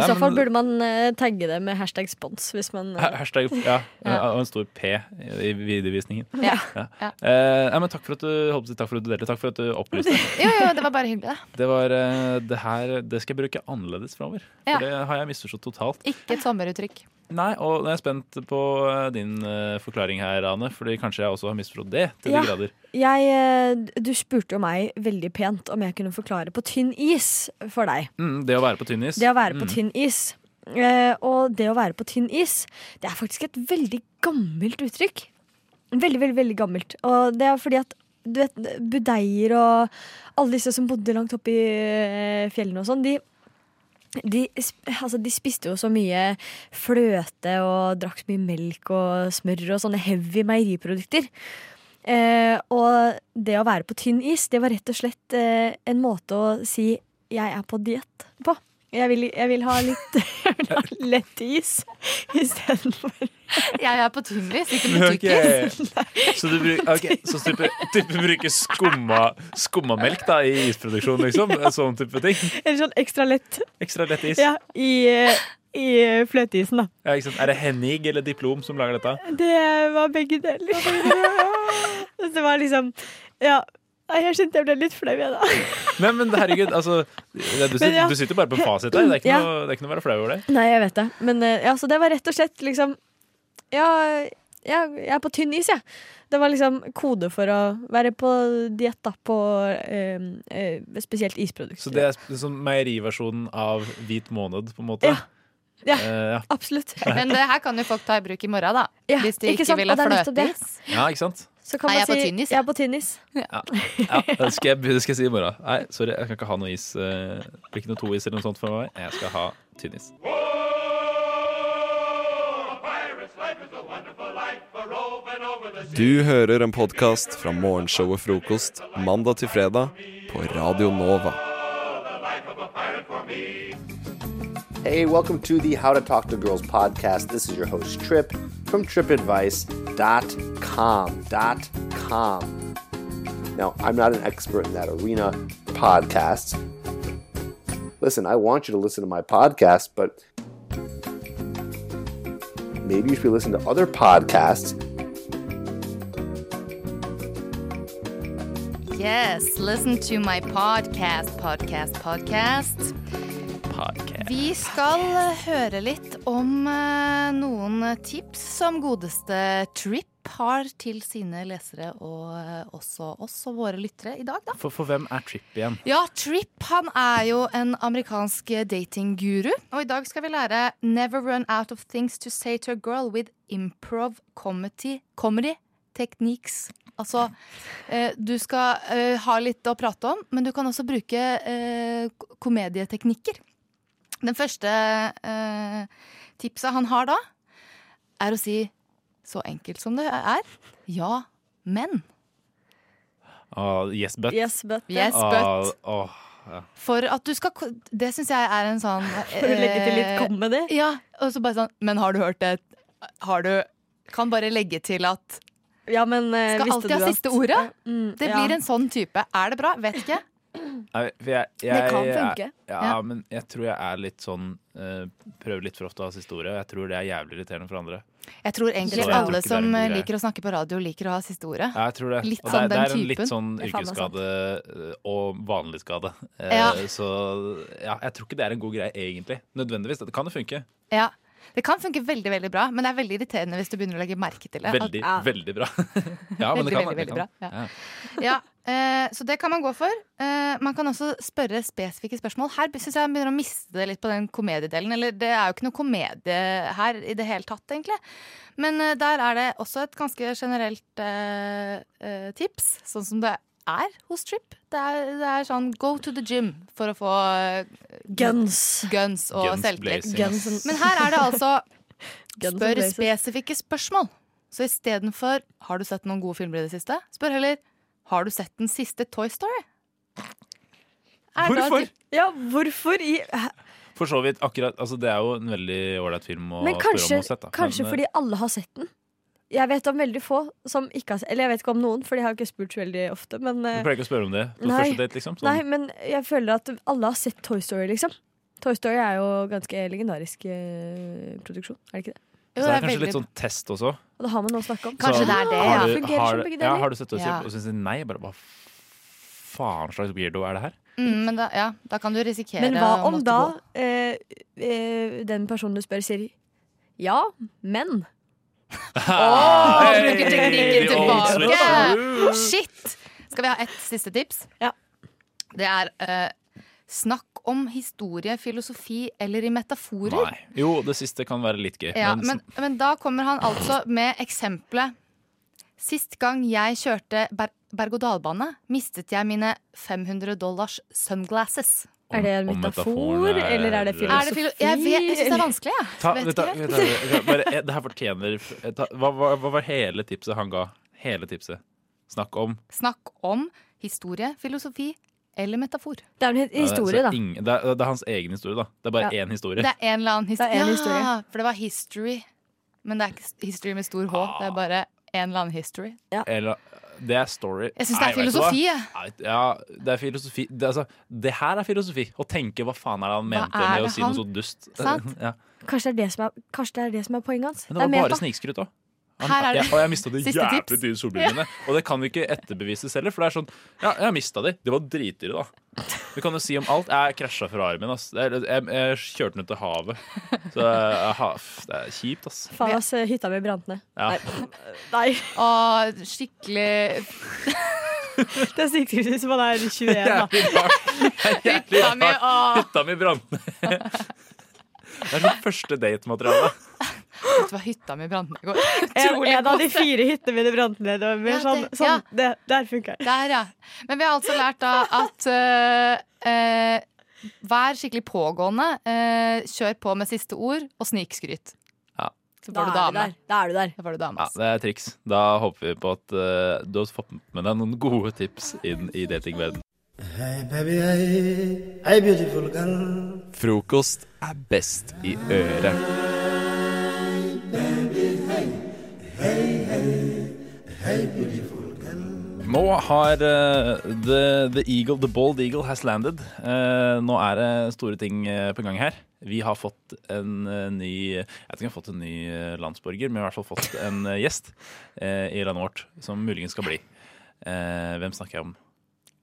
I så fall burde man eh, tagge det med hashtag spons. Hvis man, eh,
Hashtag ja,
Ja.
og en stor P i videovisningen.
Ja.
Ja. Eh, nei, men takk for at du holdt på å si takk for at du delte. Takk for at du opplyste.
Jo, jo, det var bare hyggelig, da.
Det, var, eh, det her det skal jeg bruke annerledes framover.
Ja.
For det har jeg misforstått totalt.
Ikke et sommeruttrykk.
Nei, og jeg er spent på eh, din eh, forklaring her, Ane. Fordi kanskje jeg også har misforstått det til
Ja.
de grader.
Jeg, eh, du spurte jo meg veldig pent om jeg kunne forklare på tynn is for deg.
Mm, det å være på tynn is.
Det å være på
Mm.
tynn is. Eh, og det å være på tynn is, det er faktisk et veldig gammelt uttrykk. Veldig, veldig, veldig gammelt. Og det er fordi at du vet, budeier og alle disse som bodde langt oppe i eh, fjellene og sånn, de de, sp- altså, de spiste jo så mye fløte og drakk så mye melk og smør og sånne heavy meieriprodukter. Eh, og det å være på tynn is, det var rett og slett eh, en måte å si 'jeg er på diett' på. Jeg vil, jeg vil ha litt jeg vil ha lett is istedenfor
Jeg er på tynn is, ikke på
Ok.
tykk is.
Så du bruk, ok, så type, type bruker skumma, skummamelk da, i isproduksjon, liksom? Sånn type ting?
Eller sånn ekstra lett.
Ekstra lett is?
Ja, i, eh, i eh, fløteisen, da.
Ja, ikke sant? Er det Hennig eller Diplom som lager dette?
Det var begge deler. det var liksom Ja. Nei, jeg kjente jeg ble litt flau, jeg, da.
Nei, men herregud, altså det, du,
Men
sitter,
ja.
du sitter bare på en fasit der. Det er ikke,
Ja.
noe, det er ikke noe å være flau over det.
Nei, jeg vet det. Men eh, ja, så det var rett og slett liksom Ja, ja jeg er på tynn is, jeg. Det var liksom kode for å være på diett, da, på eh, eh, spesielt isprodukter.
Så det er sp- sånn meieriversjonen av Hvit måned, på en måte?
Ja.
Eh, ja.
Absolutt.
Men det her kan jo folk ta i bruk i morgen, da.
Ja,
Hvis de
ikke
ikke,
sant?
vil ha
Og det er nettopp det.
fløteis.
ja, ikke sant?
Så kan
Nei,
man
jeg er på
si
tynn is,
Jeg er på tynn is.
Ja. Ja, det skal jeg, det skal jeg si i morgen. Nei, sorry, jeg kan ikke ha noe is. eh, Det blir ikke noe tois eller noe sånt for meg. Jeg skal ha tynnis.
Du hører en podkast fra morgenshowet Frokost mandag til fredag på Radio Nova.
Hey, welcome to the How to Talk to Girls podcast. This is your host, Trip, from tripadvice.com. Dot com. Now, I'm not an expert in that arena, podcasts. Listen, I want you to listen to my podcast, but maybe you should be listening to other podcasts.
Yes, listen to my podcast, podcast, podcast. Vi skal eh, høre litt om eh, noen tips som godeste Trip har til sine lesere og eh, også oss og våre lyttere i dag, da.
For, for hvem er Tripp igjen?
Ja, Tripp han er jo en amerikansk datingguru. Og i dag skal vi lære 'Never run out of things to say to a girl with improv comedy, comedy techniques'. Altså, eh, du skal eh, ha litt å prate om, men du kan også bruke eh, k- komedieteknikker. Den første eh, tipset han har da, er å si så enkelt som det er, ja, men.
Ah, yes, but.
Yes, but.
Yes,
Ah,
but.
åh, ja.
For at du skal ko- Det syns jeg er en sånn eh,
For å legge til litt kom med det.
Ja, og så bare sånn Men har du hørt det? Har du Kan bare legge til at
Ja, men eh,
Skal
visste
alltid
du
ha
at-
siste ordet?
Mm,
Det
ja.
blir en sånn type. Er det bra? Vet ikke.
Nei, for jeg, jeg,
Det kan
Jeg,
funke.
ja,
Ja.
men jeg tror jeg er litt sånn eh, Prøver litt for ofte å ha siste ordet. og Jeg tror det er jævlig irriterende for andre.
Jeg tror
Så
egentlig
jeg tror
alle
ikke det er
som eh,
en god greie.
liker å snakke på radio, liker å ha siste ordet.
Ja, jeg tror det.
Litt
og det,
sånn
er- det
den
er en litt
typen.
sånn
Det er faen meg sant.
yrkesskade eh, og vanlig skade. Eh,
Ja.
Så ja, jeg tror ikke det er en god greie, egentlig. Nødvendigvis. Det kan jo funke.
Ja. Det kan funke veldig veldig bra, men det er veldig irriterende hvis du begynner å legge merke til det. At-
Veldig,
ja.
veldig bra. ja,
Veldig,
men det kan,
veldig,
det
veldig
kan.
bra, Ja, eh, så det kan man gå for. Eh, man kan også spørre spesifikke spørsmål. Her syns jeg han begynner å miste det litt på den komediedelen. Eller det er jo ikke noe komedie her i det hele tatt, egentlig. Men eh, der er det også et ganske generelt eh, eh, tips, sånn som det er hos Trip. Det er, det er sånn go to the gym for å få eh,
Guns.
guns og
Guns
selvtillit.
blazing, ass. Guns.
Men her er det altså
Guns
Spør
and blazes.
spesifikke spørsmål. Så istedenfor 'Har du sett noen gode filmer i det siste?' spør heller 'Har du sett den siste Toy Story?' Er da-
Ja, hvorfor i hæ?
For så vidt. akkurat, altså Det er jo en veldig ålreit film å
Men
spørre om
kanskje,
å sette. eh,
kanskje fordi alle har sett den? Jeg vet om veldig få som ikke har Eller jeg vet ikke om noen, for de har jo ikke spurt så veldig ofte. Men, eh,
Du pleier ikke å spørre om det på
nei,
første date, liksom?
Nei, men jeg føler at alle har sett Toy Story, liksom. Toy Story er jo ganske legendarisk eh, produksjon, er det ikke det?
Så det er kanskje litt sånn test også.
Og da har man noe å snakke om.
Sånn, Har du,
Fungerer
har,
som begge
ja,
deler.
har du sett det og
Ja.
sier- og syns nei? Bare, hva faen slags weirdo er det her?
Mm, men da, ja, da kan du risikere
Men hva
å
om
måtte
da
gå.
eh, eh, den personen du spør, sier ja, men?
Å,
Hey,
bruker teknikken
the old
tilbake!
switch.
Shit! Skal vi ha et siste tips? Det er eh, snakk om historie, filosofi eller i metaforer.
Nei. Jo, det siste kan være litt gøy.
Ja,
men,
men, men da kommer han altså med eksempelet. Sist gang jeg kjørte ber berg-og-dal-bane, mistet jeg mine 500 dollars sunglasses.
Er det en
Om- om
metafor,
metaforen er-
eller er det
Er
filosofi?
det filo- jeg vet- jeg synes det er vanskelig, jeg.
ta, vet, du hva, vet, du hva, jeg- bare, jeg, det her fortjener eh, ta, hva, hva, hva var hele tipset han ga? Hele tipset. Snakk om
Snakk om historie, filosofi eller metafor.
Det er en
Ja, det er Eh, så ingen- det, er, det er hans egen historie, da. Det er bare
Ja.
én historie.
Det er en eller annen historie. historie.
historie.
Ja, for det var history. Men det er ikke history med stor H.
Ah.
Det er bare en eller annen history.
Eller, det er story.
Jeg synes det er
vet du
filosofi,
hva? Ja, det er filosofi. Det, altså, det her er filosofi. Å tenke hva faen er det han mente
er
med å
det
si
han-
noe så dust.
Sant?
Ja.
Kanskje det er det som er, kanskje det er, det som er poenget hans?
Men det var
mer
bare
da-
snikskryt òg.
Her er det.
Jeg, og jeg mista de
Siste tips.
jævlig dyre solbrillene. Og det kan vi ikke etterbevises heller, for det er sånn Ja, jeg mista de. De var dritdyre, da. Du kan jo si om alt. Jeg krasja Ferrarien min, ass. Jeg, jeg, jeg kjørte den ut til havet. Så jeg, jeg, ha- pff, det er kjipt, ass.
Faen, ass, hytta mi brant ned.
Ja.
Nei.
Og skikkelig
Det er snikskryt hvis man er 21, da.
Hytta
mi, åh.
Hytta mi brant ned. Det er sånn første date-materiale.
Vet du hva hytta mi brant ned i går?
En,
Utrolig
en av de
kose.
fire hyttene mine brant ned. Og mer sånn,
det-
sånn,
ja.
det, der funker det.
Der, ja. Men vi har altså lært da at eh, eh, Vær skikkelig pågående. eh, kjør på med siste ord og snikskryt.
Ja.
Så
Da
får du
er du
dame.
der. Da er du der.
Da får du dame.
Ja, det er triks. Da håper vi på at eh, du har fått med deg noen gode tips inn i datingverdenen.
Hei, baby, hei. Hei, beautiful girl.
Frokost er best i øret.
Nå har eh, the, the Eagle, The Bald Eagle has landed. Eh, nå er det store ting eh, på gang her. Vi har fått en eh, ny Jeg vet ikke om vi har fått en ny eh, landsborger, men vi har i hvert fall fått en eh, gjest eh, i landet vårt som muligens skal bli. Eh, hvem snakker jeg om?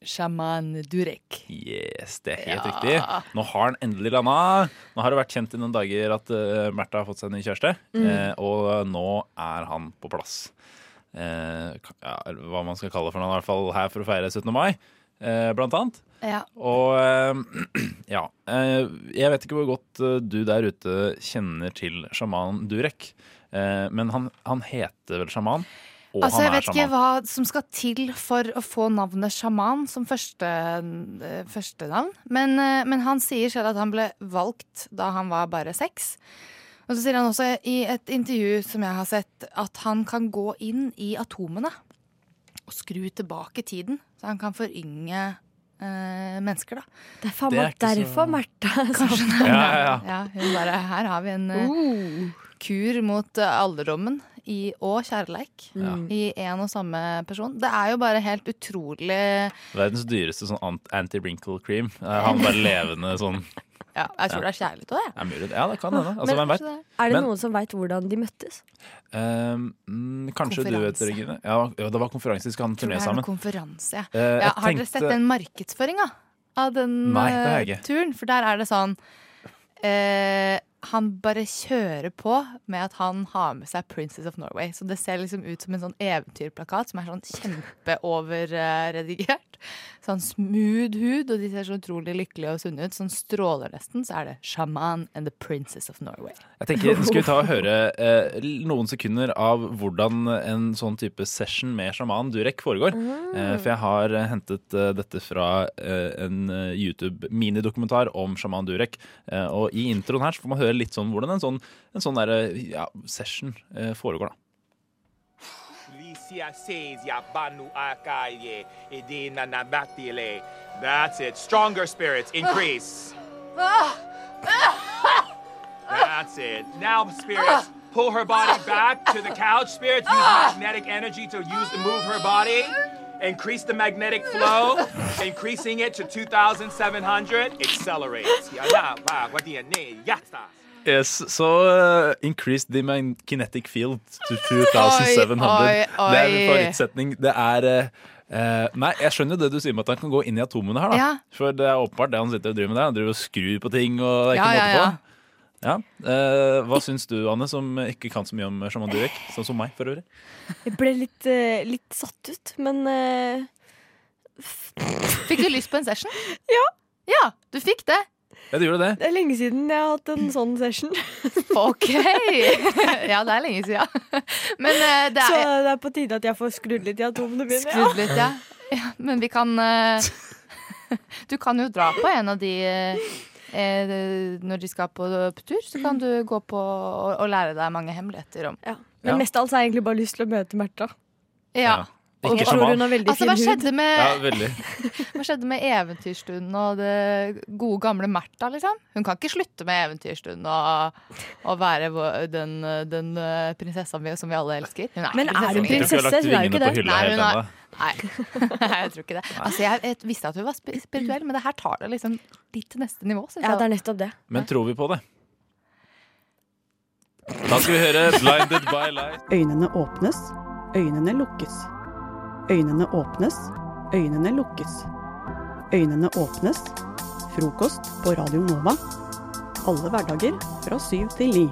Sjaman Durek.
Yes, det er helt
Ja.
riktig. Nå har han endelig landa. Nå har det vært kjent i noen dager at eh, Märtha har fått seg en ny kjæreste,
Mm.
eh, og nå er han på plass. Eh, ka- ja, eller hva man skal kalle det for noe, han er i hvert fall her for å feire 17. mai, eh, blant annet.
Ja.
Og eh, ja eh, Jeg vet ikke hvor godt eh, du der ute kjenner til sjamanen Durek, eh, men han, han heter vel sjaman? Og
altså, jeg
han er
vet ikke
sjaman.
hva som skal til for å få navnet sjaman som første, eh, første navn. Men, eh, men han sier selv at han ble valgt da han var bare seks. Og så sier han også i et intervju som jeg har sett, at han kan gå inn i atomene og skru tilbake tiden. Så han kan forynge eh, mennesker, da.
Det er faen
Det er
meg
ikke
derfor Märtha Kanskje
Ja, ja, ja.
hun bare Her har vi en eh, kur mot eh, alderdommen i, og kjærleik
Ja.
i én og samme person. Det er jo bare helt utrolig
Verdens dyreste sånn ant- anti-wrinkle cream. Eh, Han var levende sånn
Ja, jeg tror det er kjærlighet òg, jeg.
er mulig. Ja, det kan hende. Altså,
Men
hvem vet?
Er det
Men,
noen som veit hvordan de møttes?
ehm, mm, kanskje du vet det,
Konferanse.
Regine. Ja, ja, det var konferanse. De skal ha en
Tror
turné
det er noe
sammen.
konferanse. Ja.
Eh,
ja,
jeg
har dere sett
tenkte-
den markedsføringa av den
Nei, det har jeg
eh,
ikke.
turen? For der er det sånn eh, Han bare kjører på med at han har med seg 'Princess of Norway'. Så det ser liksom ut som en sånn eventyrplakat som er sånn kjempeoverredigert. Sånn smooth hud, og de ser så utrolig lykkelige og sunne ut. Sånn stråler nesten. Så er det 'Shaman and the Princess of Norway'.
Jeg tenker, Skal vi ta og høre eh, noen sekunder av hvordan en sånn type session med sjaman Durek foregår? Eh, for jeg har eh, hentet eh, dette fra eh, en eh, YouTube-minidokumentar om sjaman Durek. Eh, og i introen her så får man høre litt sånn hvordan en sånn, en sånn der, eh, ja, session eh, foregår. da.
That's it. Stronger spirits
Ah!
increase. That's it. Now, spirits, Pull her body back to the couch. Spirits use magnetic energy to use to move her body. Increase the magnetic flow, increasing it to 2,700. Accelerates. Yeah, yeah, wow, what do you need? Yeah, stop.
Yes, so uh, increase the mag- kinetic field to
Oi,
2700.
oi, oi.
Det er en favorittsetning. Det er eh, eh, Nei, jeg skjønner jo det du sier med at han kan gå inn i atomene her, da.
Ja.
For det er åpenbart det han sitter og driver med der. Han driver og skrur på ting og det er
Ja,
ikke
ja,
måte på. Ja. eh, hva syns du, Anne, som ikke kan så mye om Shaman Durek? Sånn som meg, for øvrig.
Jeg ble litt, eh, litt satt ut, men eh,
Fikk du lyst på en session?
ja.
Ja, du fikk det.
Ja, du gjorde
Det er lenge siden jeg har hatt en sånn session.
OK! Ja, det er lenge siden. Men eh, det
Så
er
det er på tide at jeg får skrudd litt i atomene mine.
Skrudd litt, ja. ja. Men vi kan eh, Du kan jo dra på en av de eh, eh, når de skal på tur, så kan du gå på og, og lære deg mange hemmeligheter om
Men mest av alt så har jeg egentlig bare lyst til å møte Märtha.
Ja.
Og jeg tror hun har veldig
altså, hva
fin hud.
skjedde med,
Ja, veldig.
hva skjedde med Eventyrstunden og det gode gamle Märtha, liksom? Hun kan ikke slutte med Eventyrstunden og, og være vår- den, den eh, prinsessa vi, som vi alle elsker. Hun
Men
ikke
er hun
lenger.
prinsesse? Jeg tror ikke hun har lagt Hun er jo ikke vingene det. på hylla helt
Nei, hun har-
ennå.
Nei, jeg tror ikke det. Altså, jeg, jeg visste at hun var spi- spirituell, men det her tar det liksom litt til neste nivå. synes
Ja,
jeg.
det er nettopp det.
Men tror vi på det? Da skal vi høre 'Blinded by Light'.
Øynene åpnes, øynene lukkes. Øynene åpnes, øynene lukkes. Øynene åpnes. Frokost på Radio Nova. Alle hverdager fra syv til ni.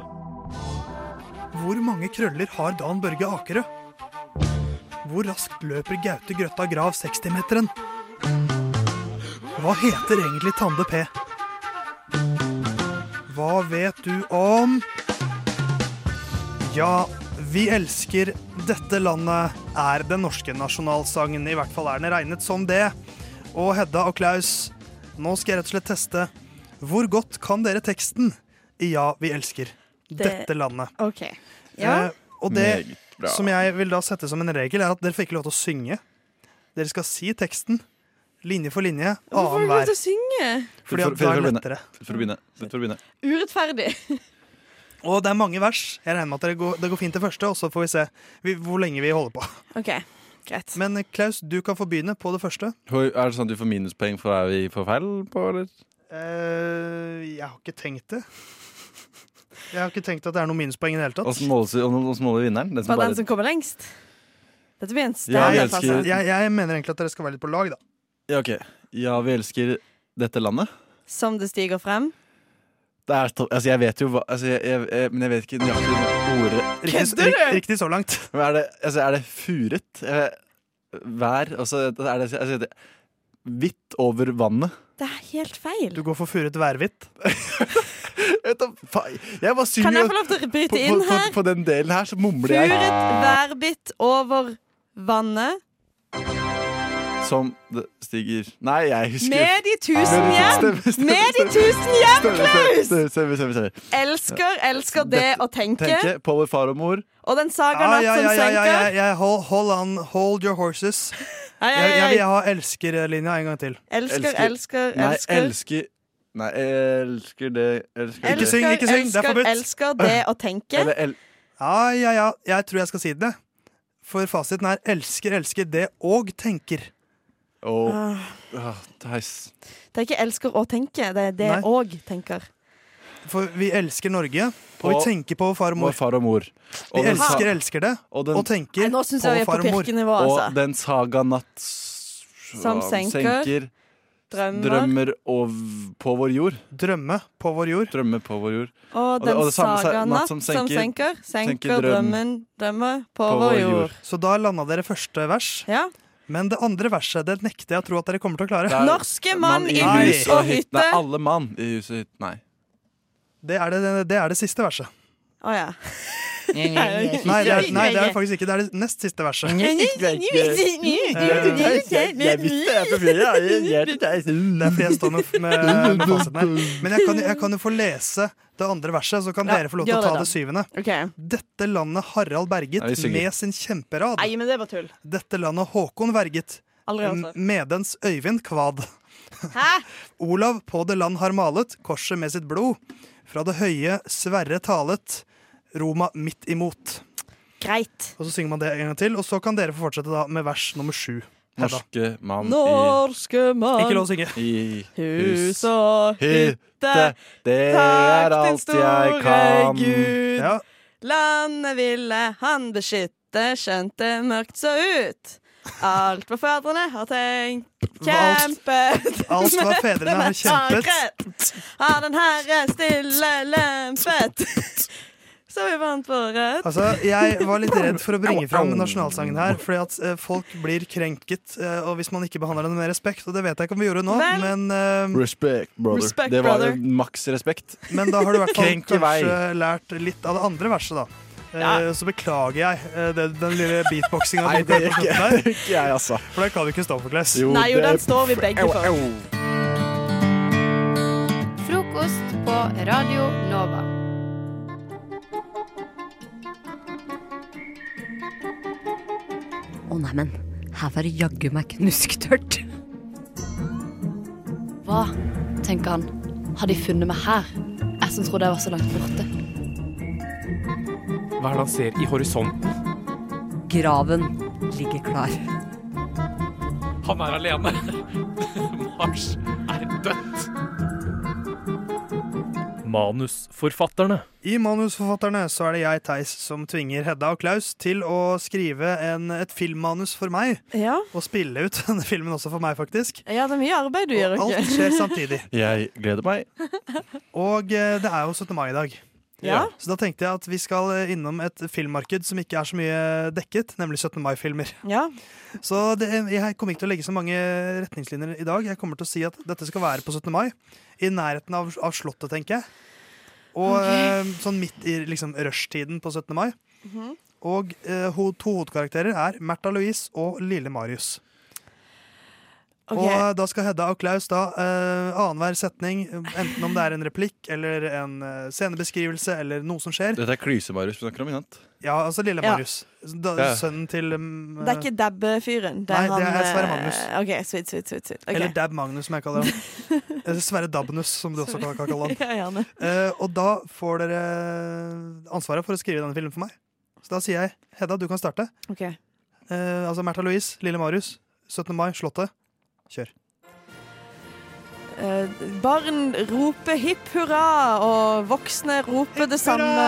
Hvor mange krøller har Dan Børge Akerø? Hvor raskt løper Gaute Grøtta Grav 60-meteren? Hva heter egentlig Tande P? Hva vet du om Ja, vi elsker dette landet er den norske nasjonalsangen. I hvert fall er den regnet som det. Og Hedda og Klaus, nå skal jeg rett og slett teste. Hvor godt kan dere teksten i Ja, vi elsker dette landet?
OK.
Eh, og det
Meget bra.
som jeg vil da sette som en regel, er at dere får ikke lov til å synge. Dere skal si teksten linje for linje,
Hvorfor må
annenhver.
du synge?
Fordi at da er det Mm. lettere.
For å begynne. For å begynne.
Urettferdig.
Og det er mange vers. Jeg regner med at dere går, det går fint det første, og så får vi se vi, hvor lenge vi holder på. Men eh, Klaus, du kan få begynne på det første.
Hoi, Er det sånn at du får minuspoeng for hva vi får feil på, eller?
Eh, jeg har ikke tenkt det. Jeg har ikke tenkt at det er noen minuspoeng i det hele tatt.
Åssen måles, hvordan måler vinneren? Den
Var
bare-
den som kommer lengst? Dette blir en
Ja,
stær.
jeg
Altså,
elsker
jeg, jeg mener egentlig at dere skal være litt på lag, da.
Ja, ok. Ja, vi elsker dette landet.
Som det stiger frem.
Det er topp. Altså, jeg vet jo hva altså, jeg, jeg, jeg, Men jeg vet ikke nøyaktig hva ordet
Riktig- Kødder du? riktig så langt.
Men er det, altså, er det furet? Jeg- Vær? Og så er det, altså, det Hvitt over vannet.
Det er helt feil.
Du går for furet værhvitt.
Jeg var sur
Kan jeg
og-
få lov til å bryte
på,
inn
på,
her?
På, på den delen her så mumler jeg.
Furet værbitt over vannet
Som det stiger Nei, jeg husker
med de tusen
Med
hjem!
Stemmer, stemmer,
Med de
stemmer.
tusen hjem,
Stemmer,
Klaus!
Stemmer, stemmer, stemmer, stemmer.
Elsker, elsker det å tenke.
Tenke på vår far og mor.
Og den saga
Ja,
natt
Ah, ja,
som
ja, ja, ja, ja,
senker.
ja. Hold, hold on, hold your horses.
Ai, ai,
Jeg, jeg vil
ai.
ha elskerlinja en gang til.
Elsker, elsker,
Nei,
elsker.
elsker Nei, elsker det elsker det.
Ikke syng, ikke syng! Det er
elsker,
forbudt.
elsker det å tenke.
Eller el
Ja, ja, ja. Jeg tror jeg skal si det. For fasiten er elsker, elsker det og tenker.
Åh,
Ah.
ah, Theis.
Det er ikke elsker å tenke, det er det
Nei.
òg tenker.
For vi elsker Norge, og vi
Og-
tenker på vår far og
Vår
mor.
far og mor.
Vi
Og den sa-
elsker, elsker det,
og
og,
den-
tenker
Nei, nå
på
synes jeg vi er
vår
på
far og mor.
pirkenivå, altså.
Og den saga natt s-
Som senker. Drømmer.
drømmer ov på vår jord.
Drømme på vår jord.
Drømme på vår jord.
Og
det-
den
det samme
saga
se-
natt som senker, senker,
drøm.
drømmen, drømmer på, vår jord.
Så da landa dere første vers.
Ja.
Men det andre verset det nekter jeg å tro at dere kommer til å klare.
Det er-
Nei.
Nei, alle mann i hus og hytte. Nei.
Det er det, det, er det siste verset.
Å ja.
Nei, det er, nei, det er faktisk ikke. Det er det nest siste verset. Eh, Det er fordi jeg står med, med, med fasiten her. Men jeg kan, jo- jeg kan jo få lese det andre verset, så kan
Ja,
dere få lov til
gjør
å ta
det da.
det syvende.
Ok.
Dette landet Harald berget
Nei, vi synger.
med sin kjemperad.
Nei, men det var tull.
Dette landet Håkon verget.
Aldri hørt det.
Medens Øyvind kvad. Olav på det land har malet, korset med sitt blod. Fra det høye Sverre talet. Roma midt imot.
Greit.
Og så synger man det en gang til, og så kan dere få fortsette da med vers nummer sju. Hedda.
Norske mann
Norske mann
Ikke lov å synge.
I
Hus og hytte,
det
takk den store Gud.
Ja.
Landet ville han beskytte, skjønt det mørkt så ut. Alt hva fedrene har tenkt, kjempet
Alt hva
møtte
fedrene har
med
kjempet.
takrett, Har den herre stille lempet. Så vi vant våre
Altså, Jeg var litt redd for å bringe fram nasjonalsangen her, fordi at eh, folk blir krenket eh, og hvis man ikke behandler den med respekt. Og det vet jeg ikke om vi gjorde nå,
Vel.
men, eh,
Respect, brother.
Respect,
det var
brother.
maks respekt.
men da har du i hvert fall
Krenk i vei.
kanskje lært litt av det andre verset, da. Eh, Så beklager jeg eh, det, den lille beatboxinga.
Nei, det gjør ikke- ikke jeg, altså.
For den kan du ikke stå for, Klaus.
Nei, jo, den står vi begge for.
Frokost på Radio Nova.
Å neimen, her var det jaggu meg knusktørt.
Hva, tenker han, har de funnet meg her? Jeg som trodde jeg var så langt borte.
Hva er det han ser i horisonten?
Graven ligger klar.
Han er alene. Mars er dødt. Manusforfatterne.
I Manusforfatterne så er det jeg, Theis, som tvinger Hedda og Klaus til å skrive en, et filmmanus for meg. Og spille ut denne filmen også for meg, faktisk.
Ja, det er mye arbeid du gjør,
Og
ikke?
alt skjer samtidig.
Jeg gleder meg.
Og eh, det er jo 17. mai i dag.
Ja.
Så da tenkte jeg at vi skal eh, innom et filmmarked som ikke er så mye dekket, nemlig 17. mai-filmer. Så det, eh, jeg kommer ikke til å legge så mange retningslinjer i dag. Jeg kommer til å si at dette skal være på 17. mai. I nærheten av, av Slottet, tenker jeg. Og
Ok.
eh, sånn midt i liksom, rushtiden på 17. mai.
Mhm.
Og eh, ho to hovedkarakterer er Märtha Louise og Lille Marius.
Ok.
Og eh, da skal Hedda og Klaus da eh, annenhver setning, enten om det er en replikk eller en eh, scenebeskrivelse eller noe som skjer
Dette er Klyse-Marius vi snakker om, ikke sant?
Ja, altså Lille
Ja.
Marius. Da,
Ja.
Sønnen til um,
Det er ikke Dab-fyren.
Nei,
han,
det er Sverre
eh,
Magnus.
OK, sweet, sweet, sweet. sweet. Ok.
eh, Eller Dab Magnus, som jeg kaller han. Eller Sverre Dabnus, som du også kan kan kalle han.
Ja, gjerne.
Eh, og da får dere ansvaret for å skrive denne filmen for meg. Så da sier jeg Hedda, du kan starte.
Ok.
Eh, altså Märtha Louise, Lille Marius, 17. mai, Slottet. Kjør.
Eh, barn roper hipp hurra, og voksne roper det samme.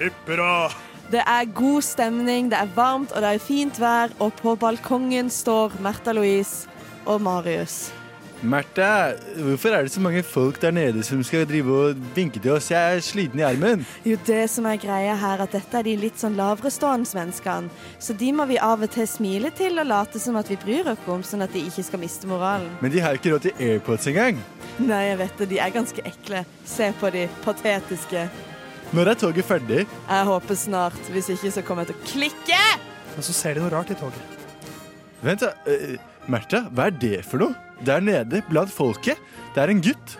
Hipp hurra!
Det er god stemning, det er varmt og det er fint vær, og på balkongen står Märtha Louise og Marius.
Märtha, hvorfor er det så mange folk der nede som skal drive og vinke til oss? Jeg er sliten i armen.
Jo, det som er greia her, at dette er de litt sånn laverestående menneskene, så de må vi av og til smile til og late som at vi bryr oss om, sånn at de ikke skal miste moralen.
Men de har ikke råd til airpods engang.
Nei, jeg vet det, de er ganske ekle. Se på de patetiske.
Når er toget ferdig?
Jeg håper snart, hvis ikke så kommer jeg til å klikke!
Men så ser de noe rart i toget.
Vent, da. eh, Märtha, hva er det for noe? Der nede, blant folket. Det er en gutt.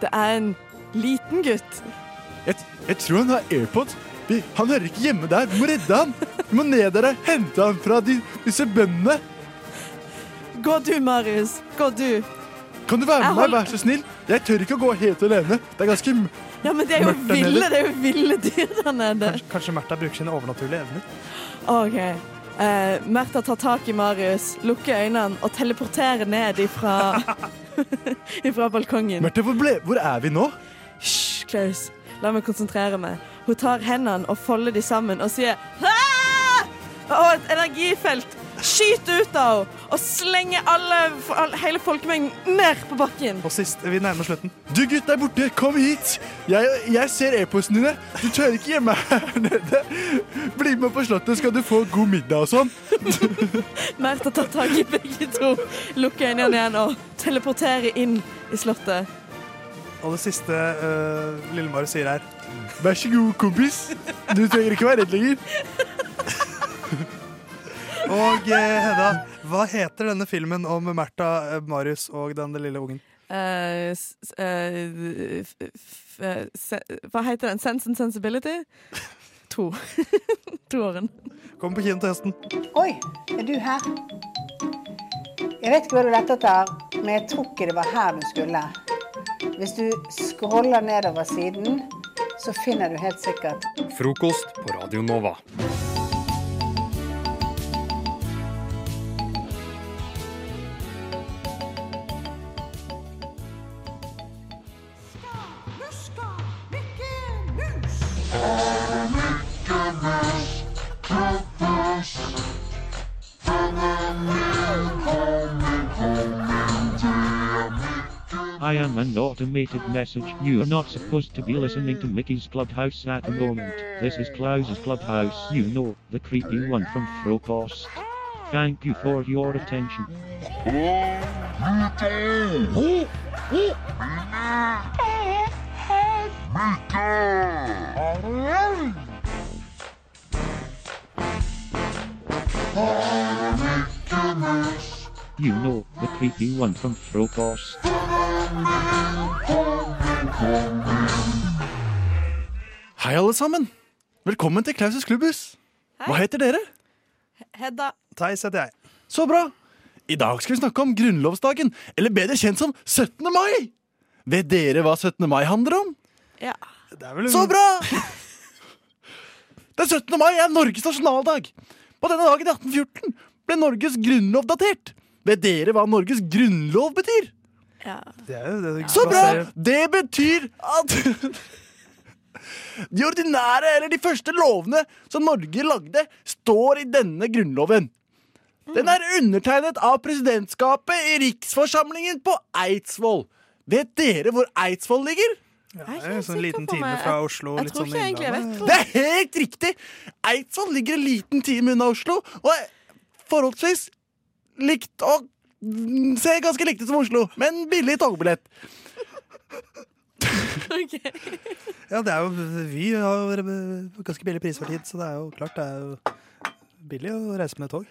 Det er en liten gutt.
Jeg, jeg tror han har airpods. Vi, han hører ikke hjemme der. Vi må redde han. Vi må ned der og hente han fra de, disse bøndene.
Gå du, Marius. Gå du.
Kan du være
Jeg
med meg,
hold-
vær så snill? Jeg tør ikke å gå helt alene. Det er ganske m-
Ja, men det er jo
Mørkt der
ville,
nede.
det er sånn, eh, jo ville dyr der nede.
Kanskje, kanskje Märtha bruker sine overnaturlige evner.
OK. Eh, Märtha tar tak i Marius, lukker øynene og teleporterer ned ifra, ifra balkongen.
Märtha, hvor, ble, hvor er vi nå?
Hysj, Klaus. La meg konsentrere meg. Hun tar hendene og folder de sammen og sier «Hæ!» Og et energifelt skyter ut av henne og slenger alle, all- hele folkemengden ned på bakken.
Og sist, vi nærmer slutten.
Du gutt der borte, kom hit! Jeg, jeg ser e-postene dine. Du tør ikke hjemme her nede. Bli med på Slottet, skal du få god middag og sånn.
Märtha tar tak i begge to, lukker øynene igjen og teleporterer inn i slottet.
Og det siste uh, Lille-Marius sier her
Vær så god, kompis. Du trenger ikke være redd lenger.
Og eh, Hedda, hva heter denne filmen om Märtha, eh, Marius og den lille ungen?
Eh, s- s- eh, f- f- eh, se- Hva heter den? Sense and Sensibility? To. Toåren.
Kom på kino til høsten.
Oi, er du her? Jeg vet ikke hva du lette etter, men jeg tror ikke det var her du skulle. Hvis du scroller nedover siden, så finner du helt sikkert
Frokost på Radio Nova.
I am an automated message. You are not supposed to be listening to Mickey's Clubhouse at the moment. This is Klaus's Clubhouse. You know, the creepy one from Frocost. Thank you for your attention. You know, the creepy one from Frocost.
Hei, alle sammen. Velkommen til Klausus klubbhus. Hva heter dere?
Hedda.
Theis heter jeg.
Så bra. I dag skal vi snakke om grunnlovsdagen, eller bedre kjent som 17. mai. Vet dere hva 17. mai handler om?
Ja.
Så bra! Den 17. mai er Norges nasjonaldag. På denne dagen i 1814 ble Norges grunnlov datert. Vet dere hva Norges grunnlov betyr? Så bra! Det betyr at de ordinære, eller de første lovene som Norge lagde, står i denne grunnloven. Den er undertegnet av presidentskapet i riksforsamlingen på Eidsvoll. Vet dere hvor Eidsvoll ligger?
det er en sånn liten time fra Oslo. litt sånn i Innlandet.
Det er helt riktig! Eidsvoll ligger en liten time unna Oslo, og er forholdsvis likt og ser ganske likt ut som Oslo, men billig togbillett.
Ja, det er jo, vi har jo ganske billig pris for tid, så det er jo klart det er jo billig å reise med tog.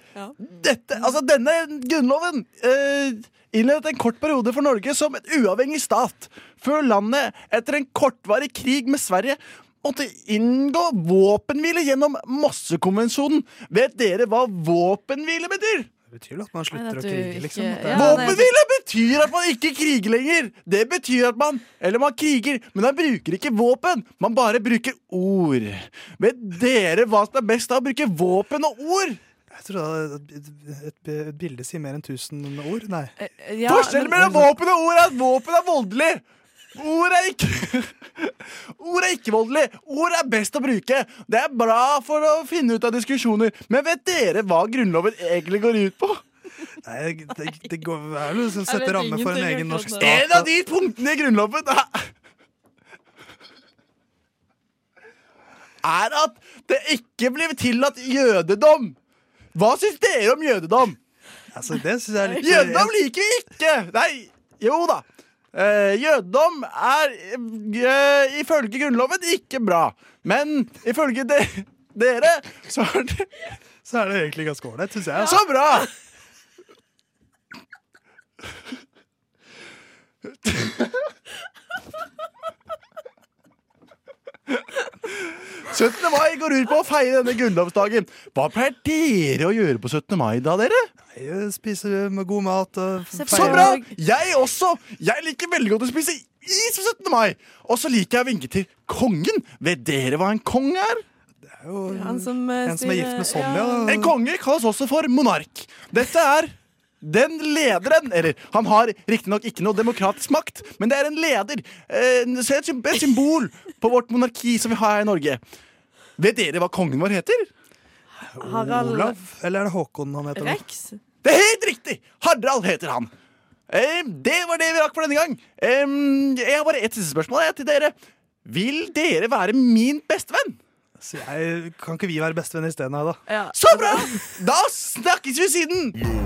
Dette, altså denne grunnloven eh, innledet en kort periode for Norge som et uavhengig stat, før landet etter en kortvarig krig med Sverige måtte inngå våpenhvile gjennom Mossekonvensjonen. Vet dere hva våpenhvile betyr?
Det betyr vel at man
Nei,
slutter
at
å
du
krige,
ikke-
liksom. at det er-
Våpenhvile betyr at man ikke kriger lenger. Det betyr at man Eller man kriger, men man bruker ikke våpen. Man bare bruker ord. Vet dere hva som er best av å bruke våpen og ord?
Jeg tror da et, et, eh, et bilde sier mer enn 1000 ord. Nei.
Eh, Forskjellen mellom våpen og ord er at våpen er voldelig. Ord er ikke Ord er ikke voldelig. Ord er best å bruke. Det er bra for å finne ut av diskusjoner. Men vet dere hva Grunnloven egentlig går ut på?
Nei, det, det går, det er vel å
Jeg vet
sette ramme for en
ingenting
egen norsk
akkurat nå.
stat.
En av de punktene i Grunnloven er- er at det ikke blir tillatt jødedom. Hva syns dere om jødedom?
Altså, det synes jeg er litt
Jødedom liker vi ikke! Nei, jo da. Eh, jødedom er eh, ifølge Grunnloven ikke bra. Men ifølge de, dere så er det
Så er det egentlig ganske ålreit, syns jeg.
Så bra! «17. mai går ut på å feire denne grunnlovsdagen. Hva pleier dere å gjøre på 17. mai, da, dere?
Nei, Spise med god mat og feire.
Så bra! Jeg også! Jeg liker veldig godt å spise is på 17. mai. Og så liker jeg å vinke til kongen. Vet dere hva en kong er?
Han som, eh,
En som er gift med
styrer-
Sonja.
ja.
En konge kalles også for monark. Dette er den lederen Eller, han har riktignok ikke noe demokratisk makt, men det er en leder. eh, så Et sym- et symbol på vårt monarki som vi har her i Norge. Vet dere hva kongen vår heter?
Harald-
Olav, eller er det Håkon han heter? nå?
Rex.
Det er helt riktig! Harald heter han. Eh, det var det vi rakk for denne gang. Em, jeg har bare ett siste spørsmål jeg, til dere. Vil dere være min bestevenn?
Så jeg, kan ikke vi være bestevenner isteden, Heida?
Så bra! Da snakkes vi siden!